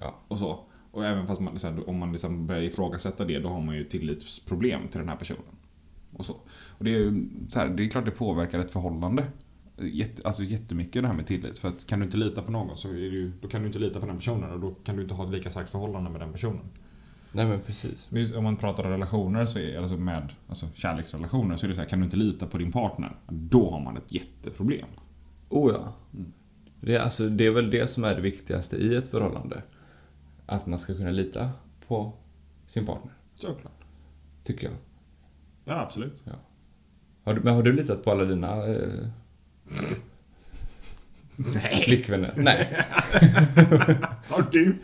[SPEAKER 3] Ja.
[SPEAKER 2] Och så. Och även fast man, så här, om man liksom börjar ifrågasätta det då har man ju tillitsproblem till den här personen. Och så. Och det är ju så här, det är klart det påverkar ett förhållande. Jätte, alltså jättemycket det här med tillit. För att kan du inte lita på någon så är det ju, då kan du inte lita på den personen och då kan du inte ha ett lika starkt förhållande med den personen.
[SPEAKER 3] Nej men precis.
[SPEAKER 2] Men just Om man pratar om relationer, så är, alltså med alltså kärleksrelationer, så är det så här, kan du inte lita på din partner, då har man ett jätteproblem.
[SPEAKER 3] Oh ja. Det, är alltså, det är väl det som är det viktigaste i ett förhållande. Att man ska kunna lita på sin partner,
[SPEAKER 2] Såklart.
[SPEAKER 3] tycker jag.
[SPEAKER 2] Ja, absolut.
[SPEAKER 3] Har du, men har du litat på alla dina eh, flickvänner? Nej.
[SPEAKER 2] Har du?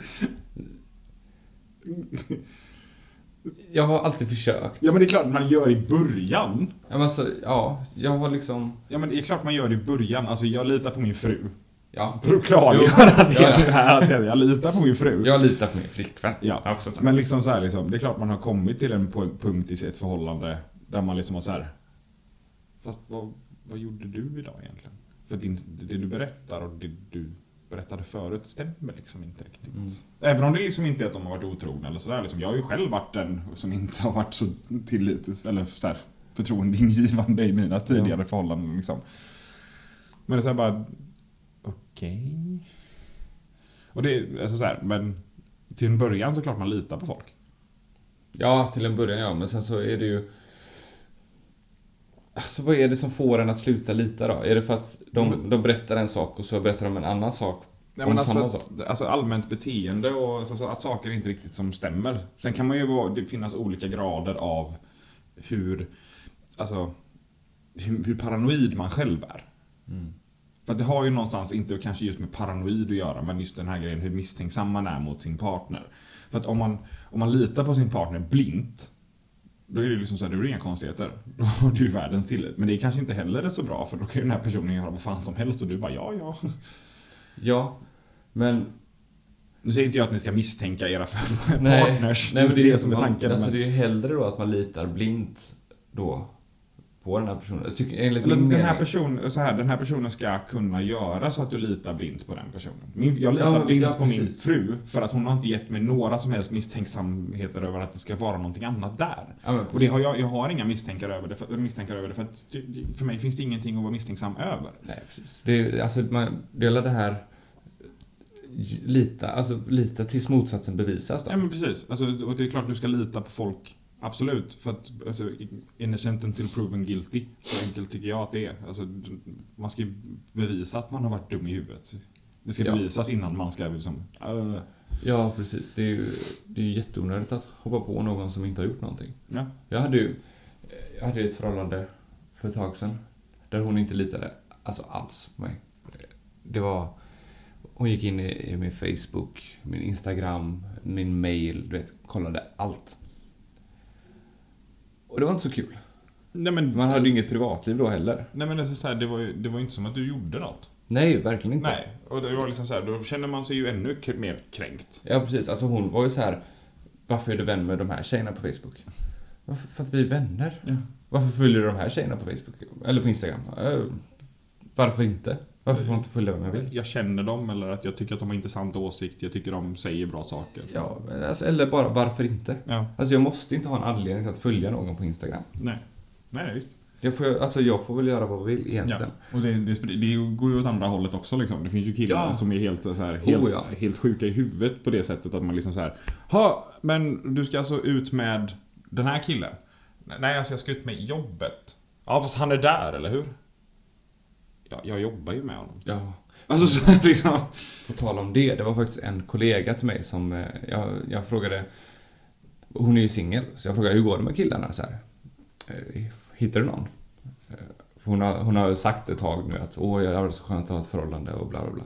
[SPEAKER 3] Jag har alltid försökt.
[SPEAKER 2] Ja, men det är klart man gör i början.
[SPEAKER 3] Ja, men Alltså, ja, jag har liksom...
[SPEAKER 2] Ja, men det är klart man gör det i början. Alltså, jag litar på min fru.
[SPEAKER 3] Ja,
[SPEAKER 2] För att klargöra det här att jag- jag litar på min fru.
[SPEAKER 3] jag litar på min flickvän.
[SPEAKER 2] Ja, men liksom så här, liksom, det är klart man har kommit till en po- punkt i ett förhållande där man liksom har så här. Fast vad, vad gjorde du idag egentligen? För din, det du berättar och det du berättade förut stämmer liksom inte riktigt. Även om det liksom inte är att de har varit otrogna eller sådär. Liksom, jag har ju själv varit den som inte har varit så tillit eller så här, förtroendeingivande i mina tidigare förhållanden. Liksom. Men det är så här bara, okej. Och det är alltså så här, men till en början så klart man litar på folk.
[SPEAKER 3] Ja, till en början ja, men sen så är det ju... Alltså vad är det som får en att sluta lita då? Är det för att de, de berättar en sak och så berättar de en annan sak
[SPEAKER 2] Mm. Nej,
[SPEAKER 3] om
[SPEAKER 2] men
[SPEAKER 3] samma
[SPEAKER 2] alltså,
[SPEAKER 3] sak?
[SPEAKER 2] att, alltså allmänt beteende och så, så att saker inte riktigt som stämmer. Sen kan man ju vara, det finnas olika grader av hur, alltså, hur, hur paranoid man själv är.
[SPEAKER 3] Mm.
[SPEAKER 2] För att det har ju någonstans, inte kanske just med paranoid att göra, men just den här grejen hur misstänksam man är mot sin partner. För att om man, om man litar på sin partner blint, då är det liksom så här, då är det inga konstigheter. *laughs* Då har du ju världens tillit. Men det är kanske inte heller är så bra, för då kan ju den här personen göra vad fan som helst och du bara ja, ja.
[SPEAKER 3] Ja, men...
[SPEAKER 2] Nu säger inte jag att ni ska misstänka era *laughs* för-
[SPEAKER 3] Nej,
[SPEAKER 2] partners.
[SPEAKER 3] nej,
[SPEAKER 2] det
[SPEAKER 3] men
[SPEAKER 2] är det, det som är
[SPEAKER 3] man-
[SPEAKER 2] tanken.
[SPEAKER 3] Alltså,
[SPEAKER 2] men,
[SPEAKER 3] Det är ju hellre då att man litar blint då på den här personen. Jag Tycker, enligt
[SPEAKER 2] eller
[SPEAKER 3] min
[SPEAKER 2] den här,
[SPEAKER 3] mening.
[SPEAKER 2] personen, så här, den här personen ska kunna göra så att du litar blint på den personen. Min, jag litar
[SPEAKER 3] Ja,
[SPEAKER 2] blint
[SPEAKER 3] ja,
[SPEAKER 2] på min
[SPEAKER 3] precis.
[SPEAKER 2] fru för att hon har inte gett mig några som helst misstänksamheter över att det ska vara någonting annat där.
[SPEAKER 3] Ja, men
[SPEAKER 2] Och det har jag, jag har inga misstänkar över det, för, misstänkar över det för, att, det- för mig finns det ingenting att vara misstänksam över.
[SPEAKER 3] Nej, precis. Det är, alltså, man delar det här... Lita, alltså lita tills motsatsen bevisas då.
[SPEAKER 2] Ja men precis. Alltså, och det är klart du ska lita på folk Absolut, för att alltså, innocent until proven guilty. Så enkelt tycker jag att det är. Alltså, d- man ska ju bevisa att man har varit dum i huvudet. Det ska
[SPEAKER 3] Ja.
[SPEAKER 2] bevisas innan man ska liksom... "Äh,
[SPEAKER 3] Ja, precis. Det är ju, det är ju jätteonödigt att hoppa på någon som inte har gjort någonting.
[SPEAKER 2] ja.
[SPEAKER 3] Jag hade ju jag hade ju ett förhållande för ett tag sedan. Där hon inte litade alltså alls på mig. Det var... Hon gick in i, i min Facebook, min Instagram, min mail, du vet, kollade allt. Och det var inte så kul.
[SPEAKER 2] Nej men,
[SPEAKER 3] Man hade ju inget privatliv då heller.
[SPEAKER 2] nej, men alltså, så här, det, var ju, det var ju inte som att du gjorde något.
[SPEAKER 3] Nej, verkligen inte.
[SPEAKER 2] Nej, och det var liksom så här, då känner man sig ju ännu k- mer kränkt.
[SPEAKER 3] Ja, precis. Alltså hon var ju så här. Varför är du vän med de här tjejerna på Facebook? Varför, för att vi är vänner. Varför följer du de här tjejerna på Facebook? Eller på Instagram? Eh, Varför inte? Varför får jag inte följa vem jag vill?
[SPEAKER 2] Jag känner dem eller att jag tycker att de har intressanta åsikter, jag tycker de säger bra saker.
[SPEAKER 3] Ja, men alltså, eller bara varför inte?
[SPEAKER 2] Ja,
[SPEAKER 3] Alltså jag måste inte ha en anledning till att följa någon på Instagram.
[SPEAKER 2] nej. Nej, nej, visst.
[SPEAKER 3] Jag får, alltså jag får väl göra vad jag vill egentligen.
[SPEAKER 2] Och det, det, sprid- det går ju åt andra hållet också liksom. Det finns ju killar
[SPEAKER 3] Ja.
[SPEAKER 2] som är helt, så här, helt,
[SPEAKER 3] Oh, ja.
[SPEAKER 2] helt sjuka i huvudet på det sättet att man liksom så här. Ha, men du ska alltså ut med den här killen? Nej, alltså jag ska ut med jobbet. Ja, fast han är där, eller hur? Ja, jag jobbar ju
[SPEAKER 3] *laughs*
[SPEAKER 2] med honom.
[SPEAKER 3] Ja.
[SPEAKER 2] Alltså så här, liksom.
[SPEAKER 3] På tal om det, det var faktiskt en kollega till mig som eh, jag, jag frågade. Hon är ju singel, så jag frågade hur går det med killarna så här. "Eh, Hittar du någon? Eh, Hon har, hon har sagt ett tag nu att åh, jag har så skönt att ha ett förhållande och bla bla bla.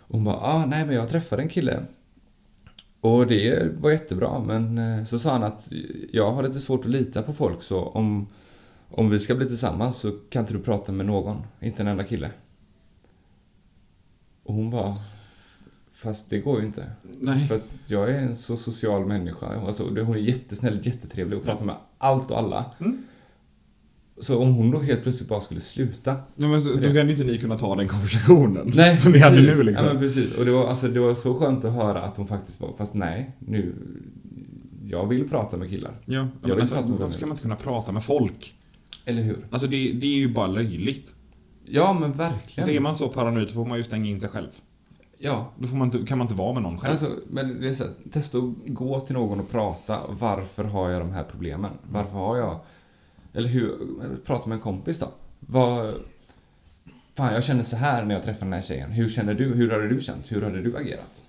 [SPEAKER 3] Och Hon bara, ah, nej men jag träffade en kille. Och det var jättebra, men eh, så sa han att jag har lite svårt att lita på folk så om, om vi ska bli tillsammans så kan inte du prata med någon, inte en enda kille. Och hon bara, fast det går ju inte.
[SPEAKER 2] Nej.
[SPEAKER 3] För att jag är en så social människa. Alltså, det- hon är jättesnäll, jättetrevlig och pratar med allt och alla.
[SPEAKER 2] Mm.
[SPEAKER 3] Så om hon då helt plötsligt bara skulle sluta.
[SPEAKER 2] Nej, men så, då kan ju inte ni kunna ta den konversationen
[SPEAKER 3] Nej,
[SPEAKER 2] Mm. *laughs* som ni hade
[SPEAKER 3] precis.
[SPEAKER 2] nu liksom.
[SPEAKER 3] Ja, men precis. Och det var, alltså, det var så skönt att höra att hon faktiskt var, fast nej, nu, jag vill prata med killar.
[SPEAKER 2] Ja, men
[SPEAKER 3] vill
[SPEAKER 2] alltså,
[SPEAKER 3] prata med
[SPEAKER 2] varför
[SPEAKER 3] vem.
[SPEAKER 2] ska man inte kunna prata med folk?
[SPEAKER 3] Eller hur?
[SPEAKER 2] Alltså det, det är ju bara löjligt.
[SPEAKER 3] Ja, men
[SPEAKER 2] Alltså, är
[SPEAKER 3] verkligen.
[SPEAKER 2] man så paranoid så får man ju stänga in sig själv.
[SPEAKER 3] Ja.
[SPEAKER 2] Då får man inte, kan man inte vara med någon själv.
[SPEAKER 3] Alltså, men det är så här, testa att gå till någon och prata. Varför har jag de här problemen? Varför har jag... Eller hur... Prata med en kompis då. Vad... Fan, jag känner så här när jag träffar den här tjejen. Hur känner du? Hur hade du känt? Hur hade du agerat?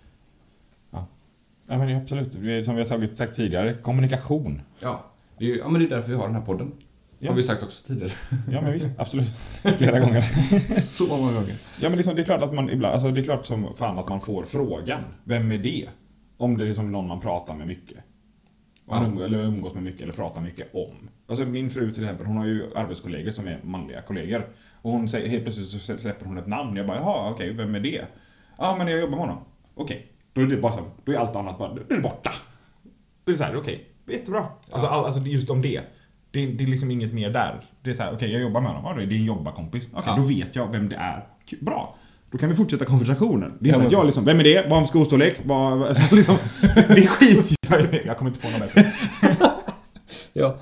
[SPEAKER 2] Ja men absolut, Det är som vi har tagit, sagt tidigare, kommunikation.
[SPEAKER 3] Ja, det är, ju- ja, men det är därför vi har den här podden.
[SPEAKER 2] Ja.
[SPEAKER 3] Har vi sagt också tidigare.
[SPEAKER 2] Ja men visst, absolut. *laughs* Flera gånger.
[SPEAKER 3] så många gånger.
[SPEAKER 2] Ja men liksom, det är klart att man ibland, alltså det är klart som fan att man får frågan. Vem är det? Om det är liksom någon man pratar med mycket. Man umgås, eller umgås med mycket eller pratar mycket om. Alltså min fru till exempel, hon har ju arbetskollegor som är manliga kollegor. Och hon säger, helt plötsligt så släpper hon ett namn. Jag bara, jaha okej, vem är det? Ja men jag jobbar med honom. Okej, då är det bara så, då är allt annat bara, då är det borta. Det är så här, okej, jättebra. Alltså, all, alltså just om det. Det, det är liksom inget mer där. Det är så här, okej jag jobbar med honom. Ja, det är din jobbarkompis. Okej,
[SPEAKER 3] Ja.
[SPEAKER 2] då vet jag vem det är. Kul, Bra. Då kan vi fortsätta konversationen. Det är
[SPEAKER 3] Ja,
[SPEAKER 2] inte
[SPEAKER 3] men
[SPEAKER 2] att jag
[SPEAKER 3] precis.
[SPEAKER 2] liksom, vem är det? Vad om skostorlek? Vad, vad- *laughs* alltså, liksom, det är skit jag- Jag kommer inte på något bättre.
[SPEAKER 3] Ja.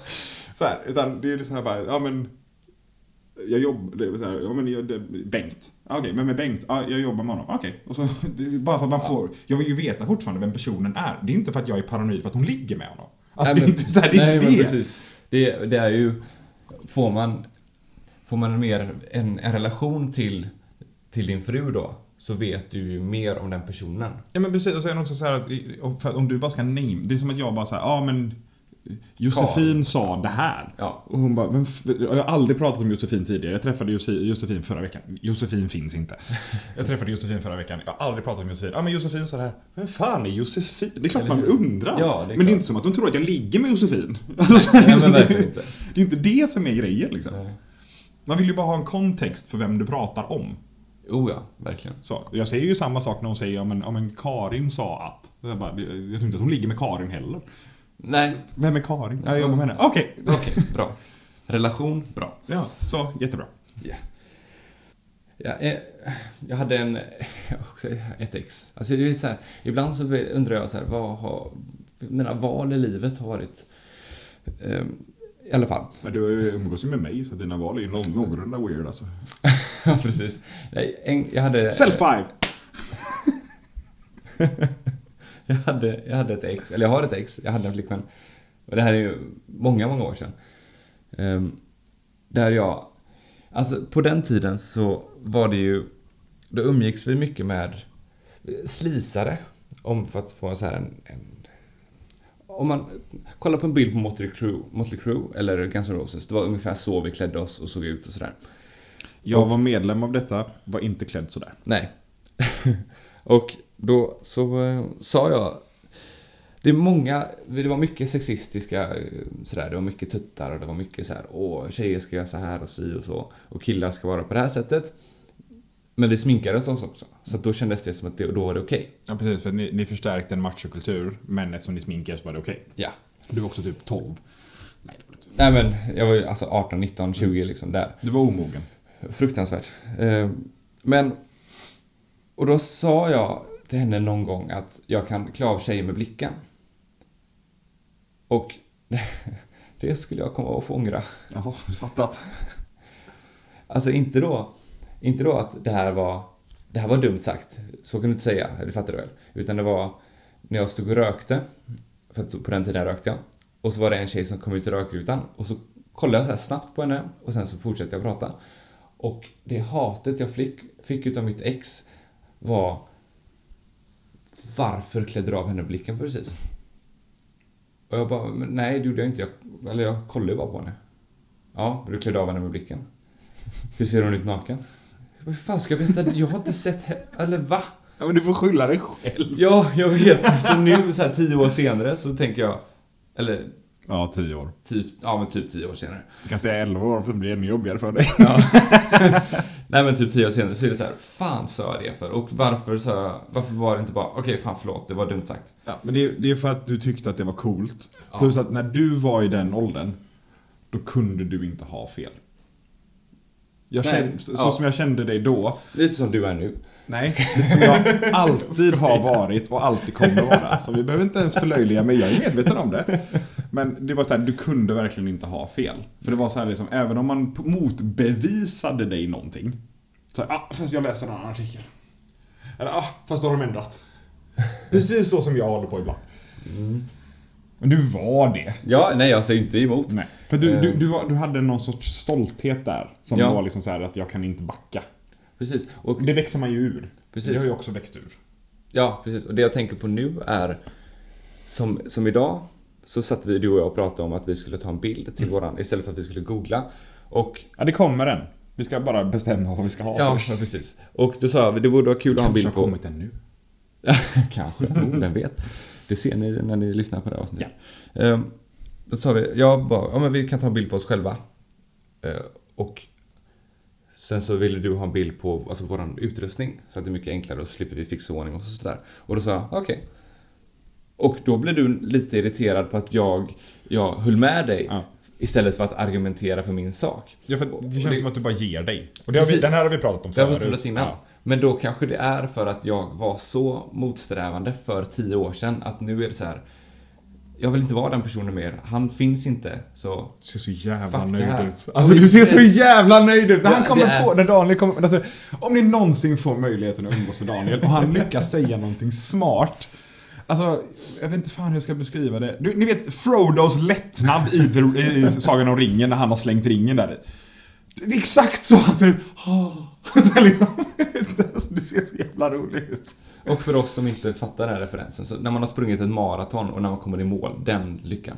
[SPEAKER 2] Så här, utan det är liksom här bara, ja men. Jag jobbar, det är så här, ja men jag, det, Bengt. Ja, Okej, vem är Bengt? Ja, jag jobbar med honom. Okej, och så det är bara för att man får. Jag vill ju veta fortfarande vem personen är. Det är inte för att jag är paranoid för att hon ligger med honom. Alltså
[SPEAKER 3] Nej,
[SPEAKER 2] det är
[SPEAKER 3] men-
[SPEAKER 2] inte så här, det är
[SPEAKER 3] nej,
[SPEAKER 2] inte
[SPEAKER 3] men
[SPEAKER 2] det.
[SPEAKER 3] precis. Det, det är ju... Får man, får man mer en, en relation till, till din fru då, så vet du ju mer om den personen.
[SPEAKER 2] Ja men precis, och sen också så här att och för att om du bara ska name, det är som att jag bara så här, ja men Josefin sa det här.
[SPEAKER 3] Ja.
[SPEAKER 2] Och hon bara, men f- jag har aldrig pratat om Josefin tidigare. Jag träffade Josi- Josefin förra veckan. Josefin finns inte. Jag träffade Josefin förra veckan. Jag har aldrig pratat om Josefin. Ja men Josefin sa det här. Vem fan är Josefin? Det är klart
[SPEAKER 3] Eller
[SPEAKER 2] man
[SPEAKER 3] hur?
[SPEAKER 2] undrar.
[SPEAKER 3] Ja, det är
[SPEAKER 2] men det
[SPEAKER 3] klart.
[SPEAKER 2] är inte som att de tror att jag ligger med Josefin. *laughs* Alltså, det är
[SPEAKER 3] men
[SPEAKER 2] liksom-
[SPEAKER 3] verkligen inte.
[SPEAKER 2] Det är inte det som är grejen liksom. Man vill ju bara ha en kontext för vem du pratar om.
[SPEAKER 3] Oh ja, verkligen.
[SPEAKER 2] Så, jag säger ju samma sak när hon säger ja men, ja, men Karin sa att. Jag, bara, jag jag tror inte att hon ligger med Karin heller.
[SPEAKER 3] Nej,
[SPEAKER 2] Vem är Karin? Ja, Jag jobbar med henne. Okej,
[SPEAKER 3] okej, bra. Relation, bra.
[SPEAKER 2] ja, så jättebra.
[SPEAKER 3] Ja. Ja, eh, jag hade en, också ett ex. Alltså det är så här, ibland så undrar jag så här, vad har, mina val i livet har varit, eh, i alla fall. *laughs*
[SPEAKER 2] Men du umgås ju med mig så dina val är ju någon- någorlunda weird alltså.
[SPEAKER 3] Ja, precis. Nej, en, jag hade...
[SPEAKER 2] Self five!
[SPEAKER 3] jag, hade, jag hade ett ex, eller jag har ett ex, jag hade en flickvän Och det här är ju många, många år sedan. Ehm, där jag... Alltså på den tiden så var det ju... Då umgicks vi mycket med slisare. Om för att få så här en... en om man kollar på en bild på Motley Crue, Motley Crue eller Guns N' Roses. Det var ungefär så vi klädde oss och såg ut och sådär.
[SPEAKER 2] Jag var medlem av detta, var inte klädd sådär.
[SPEAKER 3] Nej. *laughs* och då så eh, sa jag... Det är många, det var mycket sexistiska eh, sådär, det var mycket tuttar och det var mycket så här, åh, tjejer ska göra så här och si och så och killar ska vara på det här sättet. Men vi sminkades oss också, så att då kändes det som att det, då var det okej.
[SPEAKER 4] Ja precis, för ni, ni förstärkte en machokultur men eftersom ni sminkade så var det okej.
[SPEAKER 3] Ja.
[SPEAKER 4] Du var också typ 12. Nej, det var inte.
[SPEAKER 3] Nej men, jag var ju alltså 18, 19, 20 liksom där.
[SPEAKER 4] Du var omogen.
[SPEAKER 3] Fruktansvärt. Eh, Men... Och då sa jag till henne någon gång att jag kan klä av tjejer med blicken. Och *laughs* det skulle jag komma att få ångra.
[SPEAKER 4] Jaha, fattat.
[SPEAKER 3] Alltså inte då, inte då att det här var det här var dumt sagt. Så kan du inte säga, det fattar du väl? Utan det var när jag stod och rökte, för att på den tiden rökte jag. Och så var det en tjej som kom ut i rökrutan och så kollade jag så här snabbt på henne och sen så fortsatte jag prata. Och det hatet jag fick, fick utav mitt ex var Varför klädde du av henne blicken precis? Och jag bara, men nej det gjorde jag inte. Jag, eller jag kollade ju bara på henne. Ja, men du klädde av henne med blicken. Hur ser hon ut naken? Hur fan ska jag veta? Jag har inte sett he- Eller va?
[SPEAKER 4] Ja men du får skylla dig själv.
[SPEAKER 3] Ja, jag vet. Så nu så här tio år senare så tänker jag... Eller
[SPEAKER 2] Ja, tio år.
[SPEAKER 3] typ, ja men typ tio år senare.
[SPEAKER 2] Du kan säga elva år för det blir ännu jobbigare för dig.
[SPEAKER 3] Nej men typ tio år senare så är det så här, fan sa jag det för? Och varför sa jag, varför var det inte bara, okej fan förlåt, det var dumt sagt.
[SPEAKER 2] Ja, men det är, det är för att du tyckte att det var coolt.
[SPEAKER 3] Ja.
[SPEAKER 2] Plus att när du var i den åldern, då kunde du inte ha fel. Jag
[SPEAKER 3] Nej.
[SPEAKER 2] kände, så,
[SPEAKER 3] Ja.
[SPEAKER 2] så som jag kände dig då,
[SPEAKER 3] Lite som du är nu.
[SPEAKER 2] nej, lite som jag alltid har varit och alltid kommer att vara. Så vi behöver inte ens förlöjliga mig, jag är medveten om det. Men det var så här, du kunde verkligen inte ha fel. För det var så här liksom, även om man p- motbevisade dig någonting.
[SPEAKER 4] Så, här, ah, fast jag läser en annan artikel. Eller ah, fast då har de ändrat. Precis så som jag håller på ibland.
[SPEAKER 2] Men du var det.
[SPEAKER 3] Ja, nej jag säger inte emot.
[SPEAKER 2] Nej. För du, du,
[SPEAKER 3] Ehm.
[SPEAKER 2] du, var, du hade någon sorts stolthet där. Som
[SPEAKER 3] Ja.
[SPEAKER 2] var liksom så här att jag kan inte backa.
[SPEAKER 3] Precis. Och
[SPEAKER 2] Det växer man ju ur.
[SPEAKER 3] Precis.
[SPEAKER 2] Jag har ju också växt ur.
[SPEAKER 3] Ja, precis. Och det jag tänker på nu är som, som idag så satt vi, du och jag, och pratade om att vi skulle ta en bild till våran istället för att vi skulle googla. Och
[SPEAKER 2] Ja, det kommer en. Vi ska bara bestämma vad vi ska ha
[SPEAKER 3] ja,
[SPEAKER 2] först.
[SPEAKER 3] ja, precis. Och då sa jag, det borde vara kul att ha en
[SPEAKER 2] Kanske
[SPEAKER 3] bild
[SPEAKER 2] har
[SPEAKER 3] på.
[SPEAKER 2] kommit en nu.
[SPEAKER 3] *laughs* Kanske, oh, vem vet. Det ser ni när ni lyssnar på det här avsnittet. Ehm, då sa vi, jag bara, ja men vi kan ta en bild på oss själva. Eh, och sen så ville du ha en bild på alltså, vår utrustning. Så att det är mycket enklare och så slipper vi fixa ordning och sådär. Och då sa jag, okej. Och då blev du lite irriterad på att jag, jag höll med dig.
[SPEAKER 2] Ja.
[SPEAKER 3] Istället för att argumentera för min sak.
[SPEAKER 2] Ja, för det känns
[SPEAKER 3] Och det-
[SPEAKER 2] som att du bara ger dig. Och det har vi,
[SPEAKER 3] Precis.
[SPEAKER 2] den här har vi pratat om
[SPEAKER 3] Det har vi
[SPEAKER 2] förut.
[SPEAKER 3] pratat innan.
[SPEAKER 2] Ja.
[SPEAKER 3] Men då kanske det är för att jag var så motsträvande för tio år sedan att nu är det så här. Jag vill inte vara den personen mer. Han finns inte. Så
[SPEAKER 2] Du ser så jävla
[SPEAKER 3] Fuck det här.
[SPEAKER 2] nöjd ut. Alltså du ser så jävla nöjd ut. När
[SPEAKER 3] Ja,
[SPEAKER 2] han
[SPEAKER 3] det
[SPEAKER 2] kommer
[SPEAKER 3] är-
[SPEAKER 2] på, när Daniel kommer, alltså, om ni någonsin får möjligheten att umgås med Daniel och han lyckas säga någonting smart. Alltså, jag vet inte fan hur jag ska beskriva det. Du, ni vet Frodos lättnad i, The- i Sagan om ringen när han har slängt ringen där i. Det är exakt så han ser ut. Ah. *laughs* Så liksom, *laughs* alltså, du ser så jävla rolig ut.
[SPEAKER 3] Och för oss som inte fattar den här referensen. Så när man har sprungit ett maraton och när man kommer i mål. Den lyckan.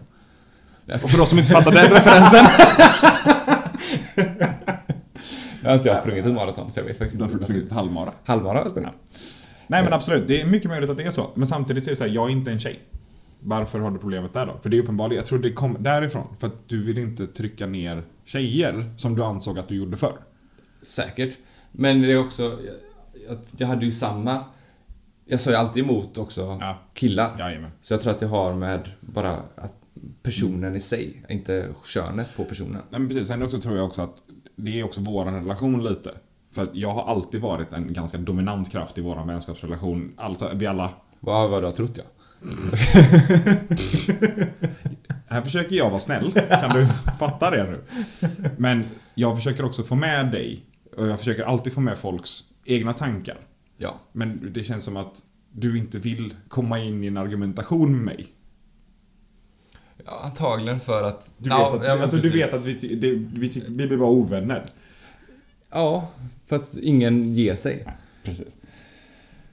[SPEAKER 3] Jag, ska,
[SPEAKER 2] Och för oss som inte fattar den referensen.
[SPEAKER 3] jag har inte jag sprungit ett maraton så jag vet faktiskt inte. hur
[SPEAKER 2] *laughs*
[SPEAKER 3] det
[SPEAKER 2] Därför har
[SPEAKER 3] ser
[SPEAKER 2] jag
[SPEAKER 3] ut.
[SPEAKER 2] ett halvmara.
[SPEAKER 3] Halvmara har jag sprungit.
[SPEAKER 2] Nej men absolut, det är mycket möjligt att det är så. Men samtidigt så är det så här, jag är inte en tjej. Varför har du problemet där då? För det är uppenbarligen, jag tror det kom därifrån. För att du vill inte trycka ner tjejer som du ansåg att du gjorde förr.
[SPEAKER 3] Säkert. Men det är också. Jag, jag, jag hade ju samma. Jag sa ju alltid emot också
[SPEAKER 2] Ja.
[SPEAKER 3] killar.
[SPEAKER 2] Jajamän.
[SPEAKER 3] Så jag tror att det har med bara att personen i sig, inte könet på personen.
[SPEAKER 2] Nej men precis, sen också tror jag också att det är också våran relation lite. För att jag har alltid varit en ganska dominant kraft i våran vänskapsrelation. Alltså vi alla.
[SPEAKER 3] Vad, vad du har trott jag.
[SPEAKER 2] Här försöker jag vara snäll. Kan du fatta det nu? Men jag försöker också få med dig. Och jag försöker alltid få med folks egna tankar.
[SPEAKER 3] Ja.
[SPEAKER 2] Men det känns som att du inte vill komma in i en argumentation med mig.
[SPEAKER 3] Ja, antagligen för att...
[SPEAKER 2] Du vet,
[SPEAKER 3] ja,
[SPEAKER 2] att,
[SPEAKER 3] ja, men
[SPEAKER 2] alltså, du
[SPEAKER 3] precis.
[SPEAKER 2] vet att vi, ty- det, vi, ty- vi blir bara ovänner.
[SPEAKER 3] Ja, för att ingen ger sig.
[SPEAKER 2] Precis.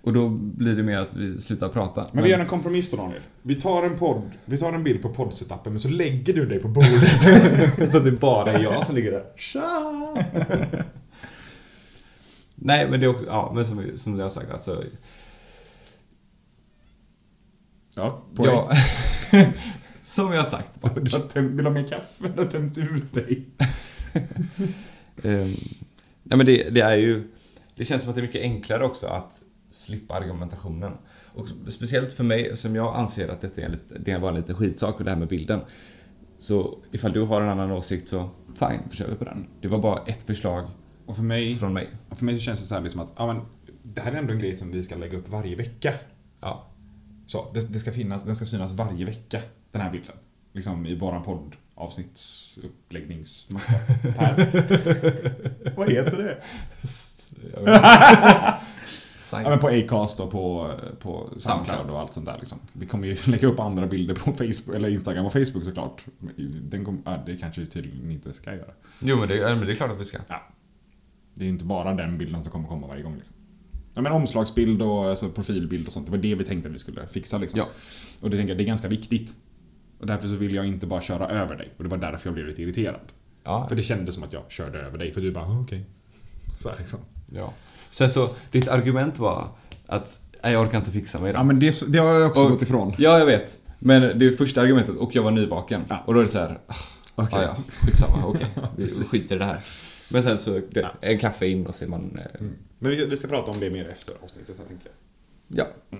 [SPEAKER 3] Och då blir det mer att vi slutar prata.
[SPEAKER 2] Men vi gör en kompromiss då Daniel. Vi tar en podd, vi tar en bild på poddsetupen men så lägger du dig på bordet.
[SPEAKER 3] *laughs*
[SPEAKER 2] så att det bara är *laughs* jag som ligger där. Tja!
[SPEAKER 3] Nej, men det är också... Ja, men som, vi- som jag har sagt, alltså...
[SPEAKER 2] Ja, poäng.
[SPEAKER 3] Ja, *laughs* som jag har sagt. bara.
[SPEAKER 2] *laughs* Du har tömt, vill du ha mer kaffe? Du har tömt ut dig.
[SPEAKER 3] Ehm, nej men det, det är ju... Det känns som att det är mycket enklare också att slippa argumentationen. Och speciellt för mig, som jag anser att detta är en, lite- det var en liten skitsak, och det här med bilden. Så ifall du har en annan åsikt så fine, då kör vi på den. Det var bara ett förslag
[SPEAKER 2] Och för mig,
[SPEAKER 3] från mig.
[SPEAKER 2] och för mig så känns det så här liksom att ja, men, det här är ändå en grej som vi ska lägga upp varje vecka.
[SPEAKER 3] Ja.
[SPEAKER 2] Så, det, det ska finnas, den ska synas varje vecka, den här bilden. Liksom i våran podd avsnittsuppläggnings... *laughs* Vad heter det? Ja men på Acast och på, på Soundcloud och allt sånt där liksom. Vi kommer ju *laughs* lägga upp andra bilder på Facebook, eller Instagram och Facebook såklart. Men Den kom, ja, det kanske vi tydligen inte ska göra.
[SPEAKER 3] Jo men det, ja, men det är klart att vi ska.
[SPEAKER 2] Det är ju inte bara den bilden som kommer komma varje gång liksom. Ja men omslagsbild och alltså, profilbild och sånt. Det var det vi tänkte att vi skulle fixa liksom.
[SPEAKER 3] Ja.
[SPEAKER 2] Och det tänker jag, det är ganska viktigt. Och därför så vill jag inte bara köra över dig. Och det var därför jag blev lite irriterad.
[SPEAKER 3] Ja,
[SPEAKER 2] För det kändes som att jag körde över dig. För du bara, "Ah, okej. Så här liksom.
[SPEAKER 3] ja. Sen så, ditt argument var att nej, jag orkar inte fixa mig idag.
[SPEAKER 2] Ja men det, det har jag också
[SPEAKER 3] Och-
[SPEAKER 2] gått ifrån.
[SPEAKER 3] Ja, jag vet. Men det är första argumentet och jag var nyvaken.
[SPEAKER 2] Ja.
[SPEAKER 3] Och då är det så här. ah,
[SPEAKER 2] Okej.
[SPEAKER 3] Ja, ja, skitsamma.
[SPEAKER 2] *laughs*
[SPEAKER 3] Okej, vi skiter i det här. Men sen så, du vet, en kaffe in och så är man... eh,
[SPEAKER 2] Men vi, vi ska prata om det mer efter avsnittet jag tänkte.
[SPEAKER 3] Ja. *laughs*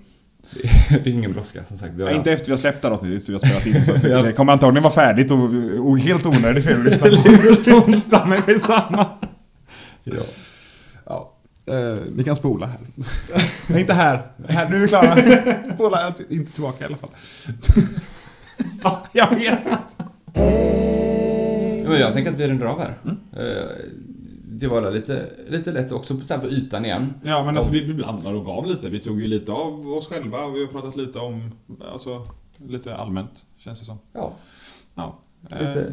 [SPEAKER 3] Det det är ingen brådska som sagt. Vi har
[SPEAKER 2] Nej, inte efter vi har släppt det här avsnittet, efter vi har spelat in. Så *laughs* att
[SPEAKER 3] Ja.
[SPEAKER 2] det kommer antagligen vara färdigt och, och helt onödigt för er att *laughs* lyssna på just onsdag, men det är samma.
[SPEAKER 3] *laughs* ja.
[SPEAKER 2] Ja. ni kan
[SPEAKER 3] *laughs*
[SPEAKER 2] spola här. Nej, inte här. här. Nu är vi *laughs* klara. Spola inte- inte tillbaka i alla fall. Fan, jag vet inte.
[SPEAKER 3] Ja, Men jag tänker att vi rundar av här.
[SPEAKER 2] Mm.
[SPEAKER 3] Eh, Det var lite, lite lätt också, så här på ytan igen.
[SPEAKER 2] Ja, men alltså vi vi blandade och gav lite. Vi tog ju lite av oss själva och vi har pratat lite om, alltså, lite allmänt, känns det som.
[SPEAKER 3] Ja,
[SPEAKER 2] Ja. Eh,
[SPEAKER 3] lite.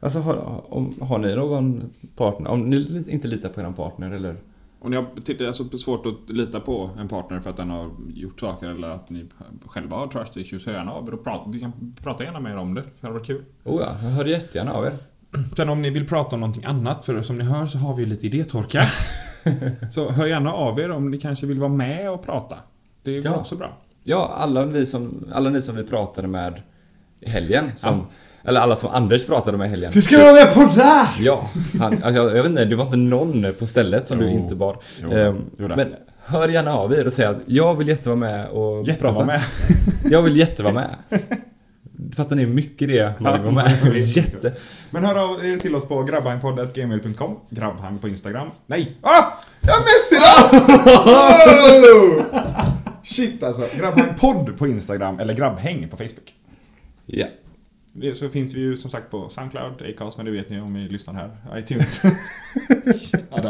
[SPEAKER 3] Alltså har, om, har ni någon partner? Om ni li- inte litar på er partner eller?
[SPEAKER 2] Om ni har till- alltså, svårt att lita på en partner för att den har gjort saker eller att ni själva har trust issues, hör gärna av er och prata, vi kan prata gärna med er om det. För det hade varit kul.
[SPEAKER 3] Oh ja, jag hör jättegärna av er.
[SPEAKER 2] Sen om ni vill prata om någonting annat, för som ni hör så har vi ju lite *laughs* idétorka. så hör gärna av er om ni kanske vill vara med och prata. Det är
[SPEAKER 3] Ja.
[SPEAKER 2] också bra.
[SPEAKER 3] Ja, alla, vi som, alla ni som vi pratade med i helgen. Som, Eller alla som Anders pratade med i helgen.
[SPEAKER 2] ska vara med på det!
[SPEAKER 3] Ja, han, alltså, jag, jag vet inte, det var inte någon på stället som du
[SPEAKER 2] Jo.
[SPEAKER 3] inte bad.
[SPEAKER 2] Jo,
[SPEAKER 3] Ehm,
[SPEAKER 2] jo då.
[SPEAKER 3] men hör gärna av er och säg att jag vill jättevara med och
[SPEAKER 2] Jättevara
[SPEAKER 3] prata.
[SPEAKER 2] med.
[SPEAKER 3] *laughs* Jag vill jättevara med. Fattar ni hur mycket det är man vill vara
[SPEAKER 2] *laughs*
[SPEAKER 3] med? Jätte.
[SPEAKER 2] Men hör av er till oss på grabbhangpodd.gmail.com Grabbhang på Instagram. Nej! Ah! Jag messade! Shit alltså. Grabbhangpodd på Instagram eller grabbhäng på Facebook.
[SPEAKER 3] Ja.
[SPEAKER 2] Det- Så finns vi ju som sagt på Soundcloud, Acast, men det vet ni om ni lyssnar här. iTunes. Shut up. Det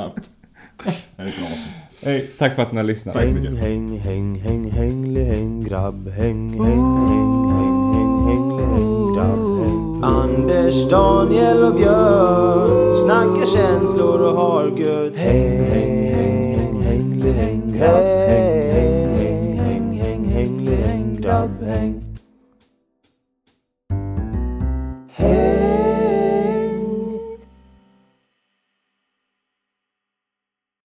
[SPEAKER 2] är ett bra avsnitt.
[SPEAKER 3] Hej, Tack för att ni har lyssnat.
[SPEAKER 2] Tack så mycket.
[SPEAKER 1] Häng, häng, häng, häng, hängli, häng, grabb, häng, häng, häng, häng, häng, hängli, häng, grabb, häng. Anders, Daniel och Björn snackar känslor och har gött. Häng, häng,